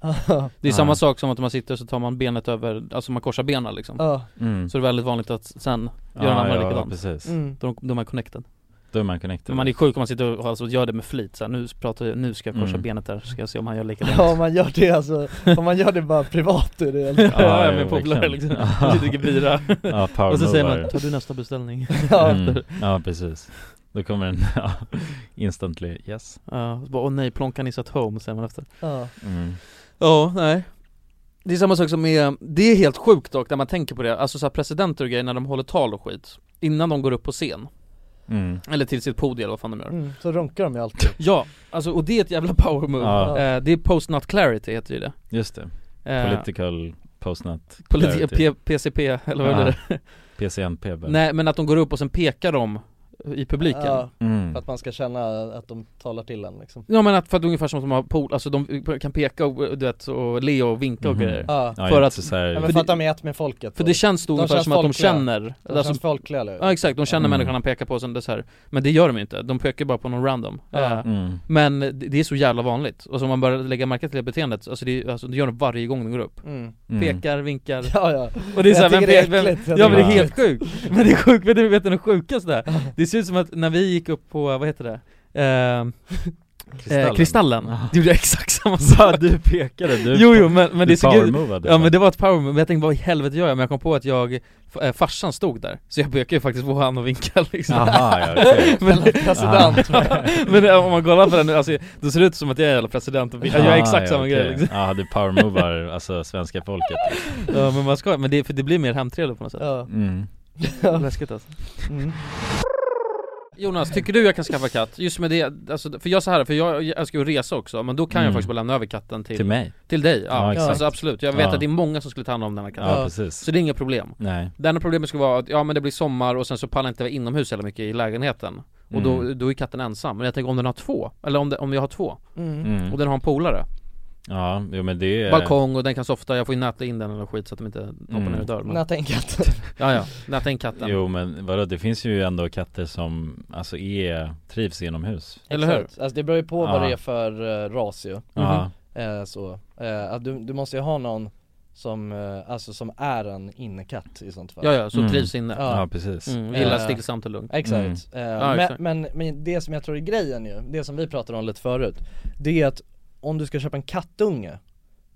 Speaker 6: Det är samma sak som att man sitter och så tar man benet över, alltså man korsar benen liksom
Speaker 4: Ja.
Speaker 3: Mm.
Speaker 6: Så det är väldigt vanligt att sen
Speaker 3: Ja,
Speaker 6: gör den andra
Speaker 3: ja,
Speaker 6: likadant
Speaker 3: precis.
Speaker 4: Mm.
Speaker 6: då, då är man connected
Speaker 3: Då är man connected
Speaker 6: Men man är sjuk om man sitter och alltså, gör det med flit så här, nu pratar jag, nu ska jag korsa
Speaker 3: Mm.
Speaker 6: benet där, ska jag se om han gör likadant
Speaker 4: Ja om man gör det alltså, om man gör det bara privat är det egentligen
Speaker 6: Ja, ja,
Speaker 3: jo,
Speaker 6: med polare
Speaker 3: verkligen.
Speaker 6: liksom,
Speaker 3: Ja.
Speaker 6: sitter och dricker bira
Speaker 3: Ja, power
Speaker 6: Och så säger man,
Speaker 3: mover.
Speaker 6: tar du nästa beställning?
Speaker 3: mm. Ja precis Då kommer den, ja, instantly, yes
Speaker 6: Ja, så bara, åh nej, plånkan is at home säger man efter
Speaker 4: Ja.
Speaker 3: Mm.
Speaker 6: Ja, nej Det är samma sak som med, det är helt sjukt dock när man tänker på det, alltså så här presidenter och grejer när de håller tal och skit Innan de går upp på scen
Speaker 3: Mm.
Speaker 6: Eller till sitt podium eller vad fan de gör
Speaker 4: mm, Så runkar de ju alltid
Speaker 6: Ja, alltså och det är ett jävla power move
Speaker 3: Ja.
Speaker 6: eh, Det är post not clarity heter ju det
Speaker 3: Just det,
Speaker 6: Eh,
Speaker 3: political postnat
Speaker 6: politi- P- PCP eller
Speaker 3: Ah,
Speaker 6: vad blir det?
Speaker 3: PCNP bara.
Speaker 6: Nej men att de går upp och sen pekar de i publiken
Speaker 4: ja,
Speaker 6: ja.
Speaker 3: Mm.
Speaker 4: För att man ska känna att de talar till en liksom
Speaker 6: men att, för att ungefär som att de har pol, alltså de kan peka och du vet och le och vinka och
Speaker 3: Mhm.
Speaker 6: grejer
Speaker 4: Ja.
Speaker 3: Ja,
Speaker 6: För
Speaker 3: inte
Speaker 6: att,
Speaker 3: så här-
Speaker 4: Ja,
Speaker 6: för
Speaker 4: men
Speaker 6: det-
Speaker 4: för att de är ett med folket
Speaker 6: För
Speaker 4: då.
Speaker 6: det känns då ungefär
Speaker 4: känns
Speaker 6: som att de
Speaker 4: folkliga.
Speaker 6: känner
Speaker 4: De
Speaker 6: alltså-
Speaker 4: känns folkliga eller hur?
Speaker 6: Ja exakt, de känner
Speaker 4: Mm.
Speaker 6: människan han pekar på sen det är så här. Men det gör de ju inte, de pekar bara på någon random
Speaker 4: Ja.
Speaker 6: Eh,
Speaker 3: Mm.
Speaker 6: Men det, det är så jävla vanligt, och så om man börjar lägga märke till det beteendet, alltså det, är- alltså det gör de varje gång de går upp
Speaker 4: Mm.
Speaker 3: Mm.
Speaker 6: Pekar, vinkar
Speaker 4: Ja, ja.
Speaker 6: Och det är såhär,
Speaker 4: Jag
Speaker 6: vem,
Speaker 4: tycker det är
Speaker 6: vem, vem,
Speaker 4: äckligt. Jag
Speaker 6: Ja men det är
Speaker 4: tycker det är
Speaker 6: helt sjukt! Men det är sjukt, vet du vet du det sjukaste? Det ser ut som att när vi gick upp på, vad heter det? Eh, Kristallen. Eh, kristallen.
Speaker 3: Jaha.
Speaker 6: Det gjorde jag exakt samma sak.
Speaker 3: du pekade, du-
Speaker 6: jo, jo, men, men
Speaker 3: du
Speaker 6: det såg ut...
Speaker 3: powermovade.
Speaker 6: Ja men det var ett power move, men jag tänkte vad i helvete gör jag? Men jag kom på att jag, f- eh, farsan stod där, så jag pekade ju faktiskt på honom och vinkade liksom
Speaker 3: Jaha, ja, okej.
Speaker 6: Men,
Speaker 3: Jävla president.
Speaker 6: men eh, om man kollar på den nu, alltså, då ser det ut som att jag är jävla president och vinkar. jag gör exakt samma grej liksom.
Speaker 3: Ah, Ja, du powermovar alltså svenska folket.
Speaker 6: Ja men man ska, men det, för det blir mer hemtrevligt på något sätt
Speaker 4: Ja.
Speaker 3: Mm.
Speaker 6: Läskigt alltså Jonas, tycker du jag kan skaffa katt? Just med det, alltså, för jag så här, för jag jag älskar ju att resa också, men då kan jag
Speaker 3: Mm.
Speaker 6: faktiskt bara lämna över katten till
Speaker 3: Till mig.
Speaker 6: Till dig, ja,
Speaker 3: Ja, exakt.
Speaker 6: alltså absolut. Jag vet
Speaker 3: Ja.
Speaker 6: att det är många som skulle ta hand om den här katten
Speaker 3: Ja, precis.
Speaker 6: Så det är inga problem
Speaker 3: Nej.
Speaker 6: Det enda problemet skulle vara att, ja men det blir sommar och sen så pallar jag inte vara inomhus hela mycket i lägenheten Och då,
Speaker 3: Mm.
Speaker 6: då är katten ensam, men jag tänker om den har två, eller om, det, om jag har två
Speaker 3: Mm. Eh. Mm.
Speaker 6: Och den har en polare
Speaker 3: Ja, jo men det är...
Speaker 6: Balkong och den kan softa, jag får ju näta in den eller skit så att de inte hoppar
Speaker 3: Mm.
Speaker 6: ner och dör men-
Speaker 4: Näta in katten.
Speaker 6: Ja ja, näta in katten
Speaker 3: Jo men vadå, det finns ju ändå katter som alltså är, trivs inomhus.
Speaker 4: Exakt. Alltså det beror ju på vad
Speaker 3: Ja.
Speaker 4: det är för uh, ras ju
Speaker 6: Mhm.
Speaker 3: Ja.
Speaker 4: Eh, Så, eh, att du, du måste ju ha någon som, eh, alltså som är en innekatt i sånt fall
Speaker 6: Ja, ja, som Mm. trivs inne. Ja, precis. Mm, gillar
Speaker 4: Eh,
Speaker 6: stillsamt och lugnt.
Speaker 4: Exakt,
Speaker 6: Mm.
Speaker 4: Eh,
Speaker 6: Ja,
Speaker 4: men,
Speaker 6: exakt.
Speaker 4: Men, men det som jag tror är grejen ju, det som vi pratade om lite förut Det är att om du ska köpa en kattunge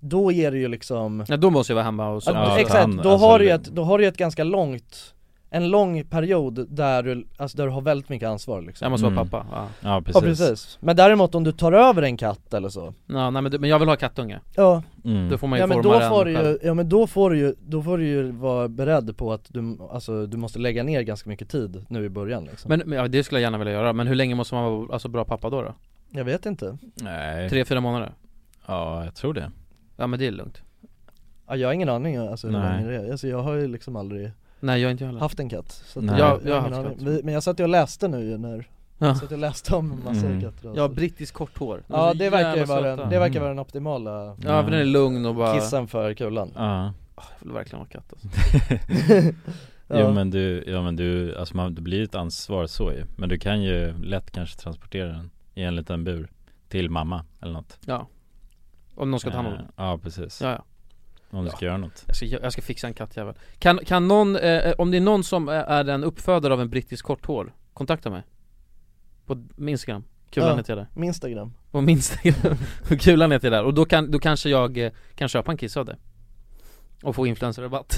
Speaker 4: Då är det ju liksom
Speaker 6: Ja då måste jag vara hemma och så
Speaker 4: Ja, Exakt, då,
Speaker 6: alltså,
Speaker 4: har du ju ett, då har du ju ett ganska långt en lång period där du, alltså där du har väldigt mycket ansvar liksom
Speaker 6: Jag måste vara Mm. pappa, ja. Ja,
Speaker 4: Ja,
Speaker 6: precis.
Speaker 4: precis. Men däremot om du tar över en katt eller så
Speaker 6: ja, nej, men, du- men jag vill ha kattunge
Speaker 4: Ja
Speaker 3: Mm.
Speaker 6: Då får man ju
Speaker 4: ja,
Speaker 6: forma
Speaker 4: men då
Speaker 6: den
Speaker 4: får du
Speaker 6: själv.
Speaker 4: ju, Ja men då får du ju, då får du ju vara beredd på att du, alltså, du måste lägga ner ganska mycket tid nu i början liksom
Speaker 6: Men, men ja, det skulle jag gärna vilja göra, men hur länge måste man vara alltså, bra pappa då? då?
Speaker 4: Jag vet inte
Speaker 3: Nej
Speaker 6: Tre, fyra månader?
Speaker 3: Ja, jag tror det
Speaker 6: Ja men det är lugnt
Speaker 4: ja, Jag har ingen aning alltså, hur
Speaker 6: Nej.
Speaker 4: länge det är, alltså, jag har ju liksom aldrig
Speaker 6: Nej jag är inte heller
Speaker 4: haft en katt så att
Speaker 6: Nej.
Speaker 4: jag,
Speaker 6: Jag- jag har
Speaker 4: ingen
Speaker 6: haft
Speaker 4: aning.
Speaker 6: katt.
Speaker 4: Vi- Men jag satt ju och läste nu ju när,
Speaker 6: Ja.
Speaker 4: jag satt och läste om en massa
Speaker 6: Mm.
Speaker 4: katter alltså. och
Speaker 6: Ja,
Speaker 4: så.
Speaker 6: brittiskt kort hår. De är
Speaker 4: Ja
Speaker 6: så
Speaker 4: det verkar ju
Speaker 6: jävla
Speaker 4: vara den,
Speaker 6: söta.
Speaker 4: det verkar
Speaker 6: Mm.
Speaker 4: vara den optimala
Speaker 6: Ja för den är lugn och bara
Speaker 4: Kissen för kulan
Speaker 3: Ja
Speaker 6: Åh, Jag vill verkligen ha katt alltså.
Speaker 3: Jo men du, ja men du, alltså man, det blir ju ett ansvar så ju Men du kan ju lätt kanske transportera den i en liten bur Till mamma eller något Eh,
Speaker 6: Ja Om någon ska ta hand om den.
Speaker 3: Ja precis
Speaker 6: Ja, ja.
Speaker 3: Om du ska göra något
Speaker 6: Jag ska, jag ska fixa en kattjävel Kan, kan någon, eh, om det är någon som är- är en uppfödare av en brittisk korthår, kontakta mig På min Instagram, kulan
Speaker 4: Ja,
Speaker 6: heter jag där
Speaker 4: min Instagram.
Speaker 6: På min Instagram, Och kulan heter jag där och då, kan, då kanske jag eh, kan köpa en kiss av dig Och få influencerrabatt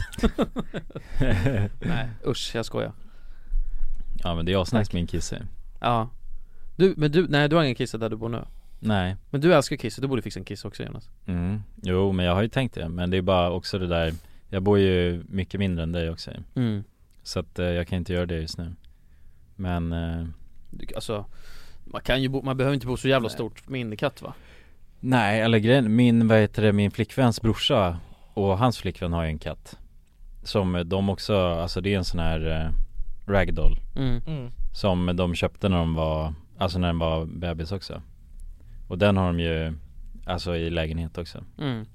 Speaker 6: Nej usch, jag skojar
Speaker 3: Ja men det är avsnack min kisse
Speaker 6: Ja Du, men du, nej du har ingen kisse där du bor nu
Speaker 3: Nej
Speaker 6: Men du älskar kisse, du borde fixa en kisse också Jonas
Speaker 3: mm. Jo men jag har ju tänkt det, men det är bara också det där Jag bor ju mycket mindre än dig också ju.
Speaker 6: Mm.
Speaker 3: Så att eh, jag kan inte göra det just nu Men eh,
Speaker 6: Du- Alltså, man kan ju bo, man behöver inte bo så jävla stort med innekatt va?
Speaker 3: Nej, eller grejen, min, vad heter det, min flickväns brorsa och hans flickvän har ju en katt Som de också, alltså det är en sån här eh, ragdoll
Speaker 6: Mm.
Speaker 4: Mm.
Speaker 3: Som de köpte när de var, alltså när den var bebis också Och den har de ju, alltså i lägenhet också
Speaker 6: Mm.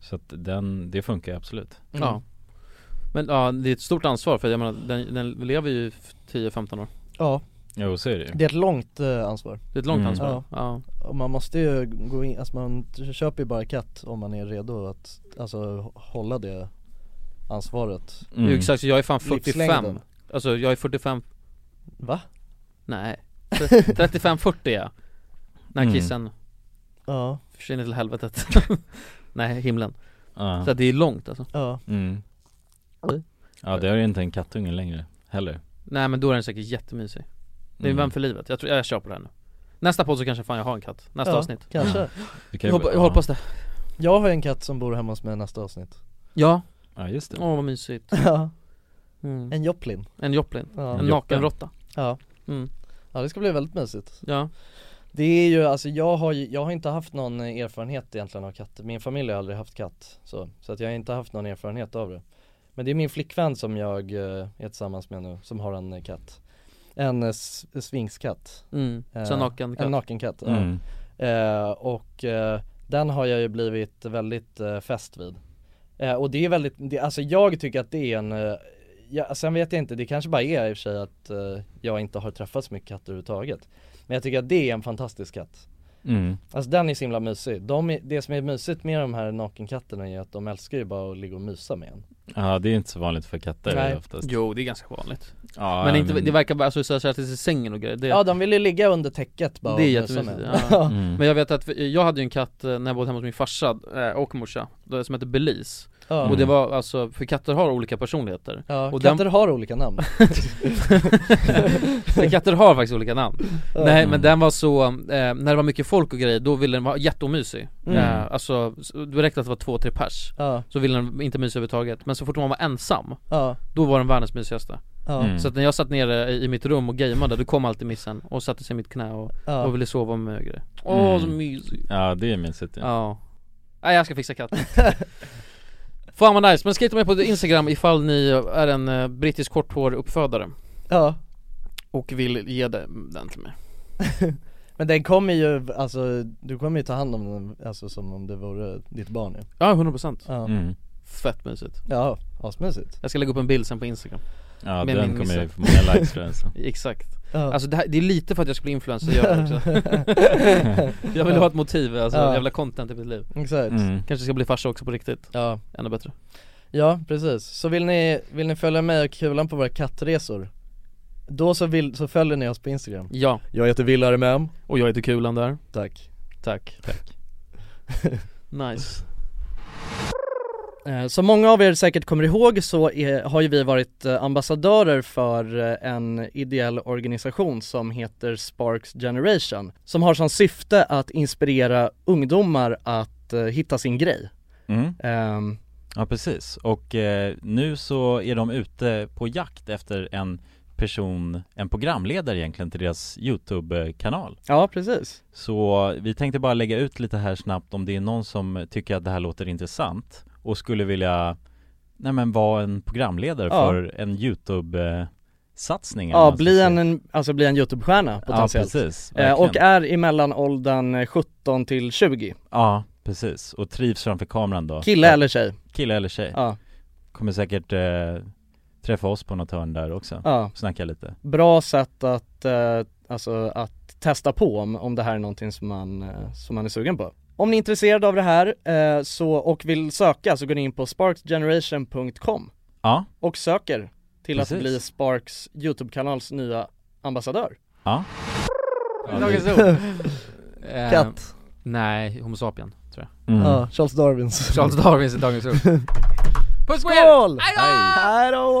Speaker 3: Så att den, det funkar ju absolut
Speaker 6: Ja Men ja, det är ett stort ansvar för jag menar, den, den lever ju f- 10-15 år
Speaker 4: Ja
Speaker 3: Jo så är det ju
Speaker 4: Det är ett långt eh, ansvar
Speaker 6: Det är ett långt Mm. ansvar,
Speaker 4: Och man måste ju gå in, alltså man t- köper ju bara katt om man är redo att, alltså hå- hålla det ansvaret
Speaker 6: Jo,
Speaker 3: Mm.
Speaker 6: Exakt, så jag är fan
Speaker 4: Livslängden.
Speaker 6: 45 Alltså jag är 45
Speaker 4: Va?
Speaker 6: Nej 35-40 är jag När
Speaker 4: Mm.
Speaker 6: kissen
Speaker 4: Ja.
Speaker 6: försvinner till helvetet Nej, himlen
Speaker 3: Ja.
Speaker 6: Så att det är långt alltså
Speaker 4: Ja.
Speaker 3: mm. Ja det är ju inte en kattunge längre heller
Speaker 6: Nej men då är den säkert jättemysig Det är en
Speaker 3: Mm.
Speaker 6: vän för livet, jag tror, jag kör på den nu Nästa podd så kanske fan jag har en katt, nästa
Speaker 4: Ja,
Speaker 6: avsnitt
Speaker 4: Kanske
Speaker 3: Vi
Speaker 6: jag, hoppa, jag hoppas det
Speaker 4: Jag har ju en katt som bor hemma hos mig nästa avsnitt
Speaker 6: Ja
Speaker 3: Ja just det
Speaker 6: Åh vad mysigt
Speaker 4: Ja
Speaker 6: Mm.
Speaker 4: En Joplin
Speaker 6: En Joplin,
Speaker 4: Ja.
Speaker 6: en nakenråtta
Speaker 4: Ja
Speaker 6: mm.
Speaker 4: Ja det ska bli väldigt mysigt
Speaker 6: Ja
Speaker 4: Det är ju, alltså jag har ju, jag har inte haft någon erfarenhet egentligen av katter, min familj har aldrig haft katt så, så att jag har inte haft någon erfarenhet av det Men det är min flickvän som jag eh, är tillsammans med nu, som har en eh, katt En eh, s- sfinxkatt
Speaker 6: Mm, så en
Speaker 4: Eh,
Speaker 6: naken katt.
Speaker 4: En nakenkatt,
Speaker 3: Mm.
Speaker 4: ja eh, Och eh, den har jag ju blivit väldigt eh, fäst vid eh, Och det är väldigt, det, alltså jag tycker att det är en eh, Ja, sen vet jag inte, det kanske bara är i och för sig att eh, jag inte har träffat så mycket katter överhuvudtaget Men jag tycker att det är en fantastisk katt
Speaker 3: Mm.
Speaker 4: Alltså den är så himla mysig. De är, det som är mysigt med de här nakenkatterna är att de älskar ju bara att ligga och mysa med en
Speaker 3: Ja, det är inte så vanligt för katter
Speaker 6: Nej.
Speaker 3: oftast.
Speaker 6: Jo, det är ganska vanligt.
Speaker 3: Ja,
Speaker 6: men inte, det verkar bara alltså, associera till sängen och grejer. Det,
Speaker 4: Ja de vill ju ligga under täcket bara
Speaker 6: det är
Speaker 4: och
Speaker 6: jättemysigt.
Speaker 4: mysa med.
Speaker 6: Ja.
Speaker 3: Mm.
Speaker 6: Men jag vet att vi- jag hade ju en katt eh, när jag bodde hemma hos min farsa eh, och morsa, då- som hette Belize.
Speaker 4: Ja.
Speaker 6: Och det var alltså, för katter har olika personligheter.
Speaker 4: Ja,
Speaker 6: och
Speaker 4: katter har olika namn.
Speaker 6: Men katter har faktiskt olika namn.
Speaker 4: Ja.
Speaker 6: Nej
Speaker 4: Mm.
Speaker 6: men den var så, eh, när det var mycket folk och grejer, då ville den vara jätteomysig.
Speaker 4: Mm.
Speaker 6: Eh, alltså, s- det räckte att det var två, tre pers.
Speaker 4: Ja.
Speaker 6: Så ville den inte mysa överhuvudtaget. Men så fort man var ensam,
Speaker 4: Ja.
Speaker 6: då var den världens mysigaste.
Speaker 4: Ja. Mm.
Speaker 6: Så att när jag satt nere i i mitt rum och gameade, då kom alltid missen och satte sig i mitt knä och,
Speaker 4: Ja.
Speaker 6: och ville sova med mig och grejer. Åh
Speaker 3: Mm.
Speaker 6: så mysigt!
Speaker 3: Ja, det är mysigt ja.
Speaker 6: Ja. Nej jag ska fixa katten Fan vad nice, men skriv till mig på instagram ifall ni är en eh, brittisk korthårig uppfödare
Speaker 4: Ja.
Speaker 6: Och vill ge det- mm, den till mig
Speaker 4: Men den kommer ju, alltså du kommer ju ta hand om den alltså som om det vore ditt barn ju.
Speaker 6: Ja 100%
Speaker 4: Ja.
Speaker 3: Mm.
Speaker 6: Fett mysigt
Speaker 4: Ja, asmysigt.
Speaker 6: Jag ska lägga upp en bild sen på instagram
Speaker 3: Ja,
Speaker 6: Med
Speaker 3: den
Speaker 6: min
Speaker 3: kommer
Speaker 6: missa.
Speaker 3: ju få många likes, alltså. tror jag, så.
Speaker 6: Exakt
Speaker 4: Ja.
Speaker 6: Alltså det, här, det är lite för att jag skulle bli influencer jag gör det också Jag vill
Speaker 4: Ja.
Speaker 6: ha ett motiv, alltså
Speaker 4: Ja.
Speaker 6: jävla content i mitt liv
Speaker 4: Exakt.
Speaker 3: Mm.
Speaker 6: Kanske ska bli farsa också på riktigt
Speaker 4: Ja
Speaker 6: Ännu bättre
Speaker 4: Ja, precis. Så vill ni, vill ni följa mig och Kulan på våra kattresor? Då så, vill, så följer ni oss på Instagram
Speaker 6: Ja
Speaker 4: Jag heter Villare Mem
Speaker 6: Och jag heter Kulan där
Speaker 4: Tack
Speaker 6: Tack Tack Nice
Speaker 4: Eh, Som många av er säkert kommer ihåg så är, har ju vi varit eh, ambassadörer för eh, en ideell organisation som heter Sparks Generation som har som syfte att inspirera ungdomar att eh, hitta sin grej.
Speaker 3: Mm.
Speaker 4: Ehm,
Speaker 3: Ja precis, och eh, nu så är de ute på jakt efter en person, en programledare egentligen till deras Youtube-kanal
Speaker 4: Ja precis
Speaker 3: Så vi tänkte bara lägga ut lite här snabbt om det är någon som tycker att det här låter intressant och skulle vilja Nej men vara en programledare
Speaker 4: Ja.
Speaker 3: för en Youtube-satsning eller
Speaker 4: Ja,
Speaker 3: vad man ska
Speaker 4: bli
Speaker 3: säga.
Speaker 4: en, en, alltså bli en YouTube-stjärna potentiellt.
Speaker 3: precis,
Speaker 4: Eh, och
Speaker 3: verkligen.
Speaker 4: är i mellanåldern eh, 17 till 20.
Speaker 3: Ja, precis, och trivs framför kameran då
Speaker 4: Kille eller tjej?
Speaker 3: Kille eller tjej
Speaker 4: Ja.
Speaker 3: Kommer säkert eh, träffa oss på något hörn där också,
Speaker 4: Ja.
Speaker 3: snacka lite
Speaker 4: Bra sätt att, eh, alltså att testa på om, om det här är någonting som man, eh, som man är sugen på. Om ni är intresserade av det här eh, så, och vill söka så går ni in på sparksgeneration.com
Speaker 3: Ja,
Speaker 4: och söker till att
Speaker 3: Precis.
Speaker 4: bli Sparks YouTube-kanals nya ambassadör.
Speaker 3: ja
Speaker 6: Dagens
Speaker 4: det-
Speaker 6: ord Eh,
Speaker 4: Katt.
Speaker 6: Nej, Homo sapien tror jag
Speaker 3: Mm.
Speaker 4: Ja, Charles Darwins
Speaker 6: Charles Darwins är dagens ord Puss på er!
Speaker 4: Skål!
Speaker 6: Hej då!
Speaker 4: Hej då!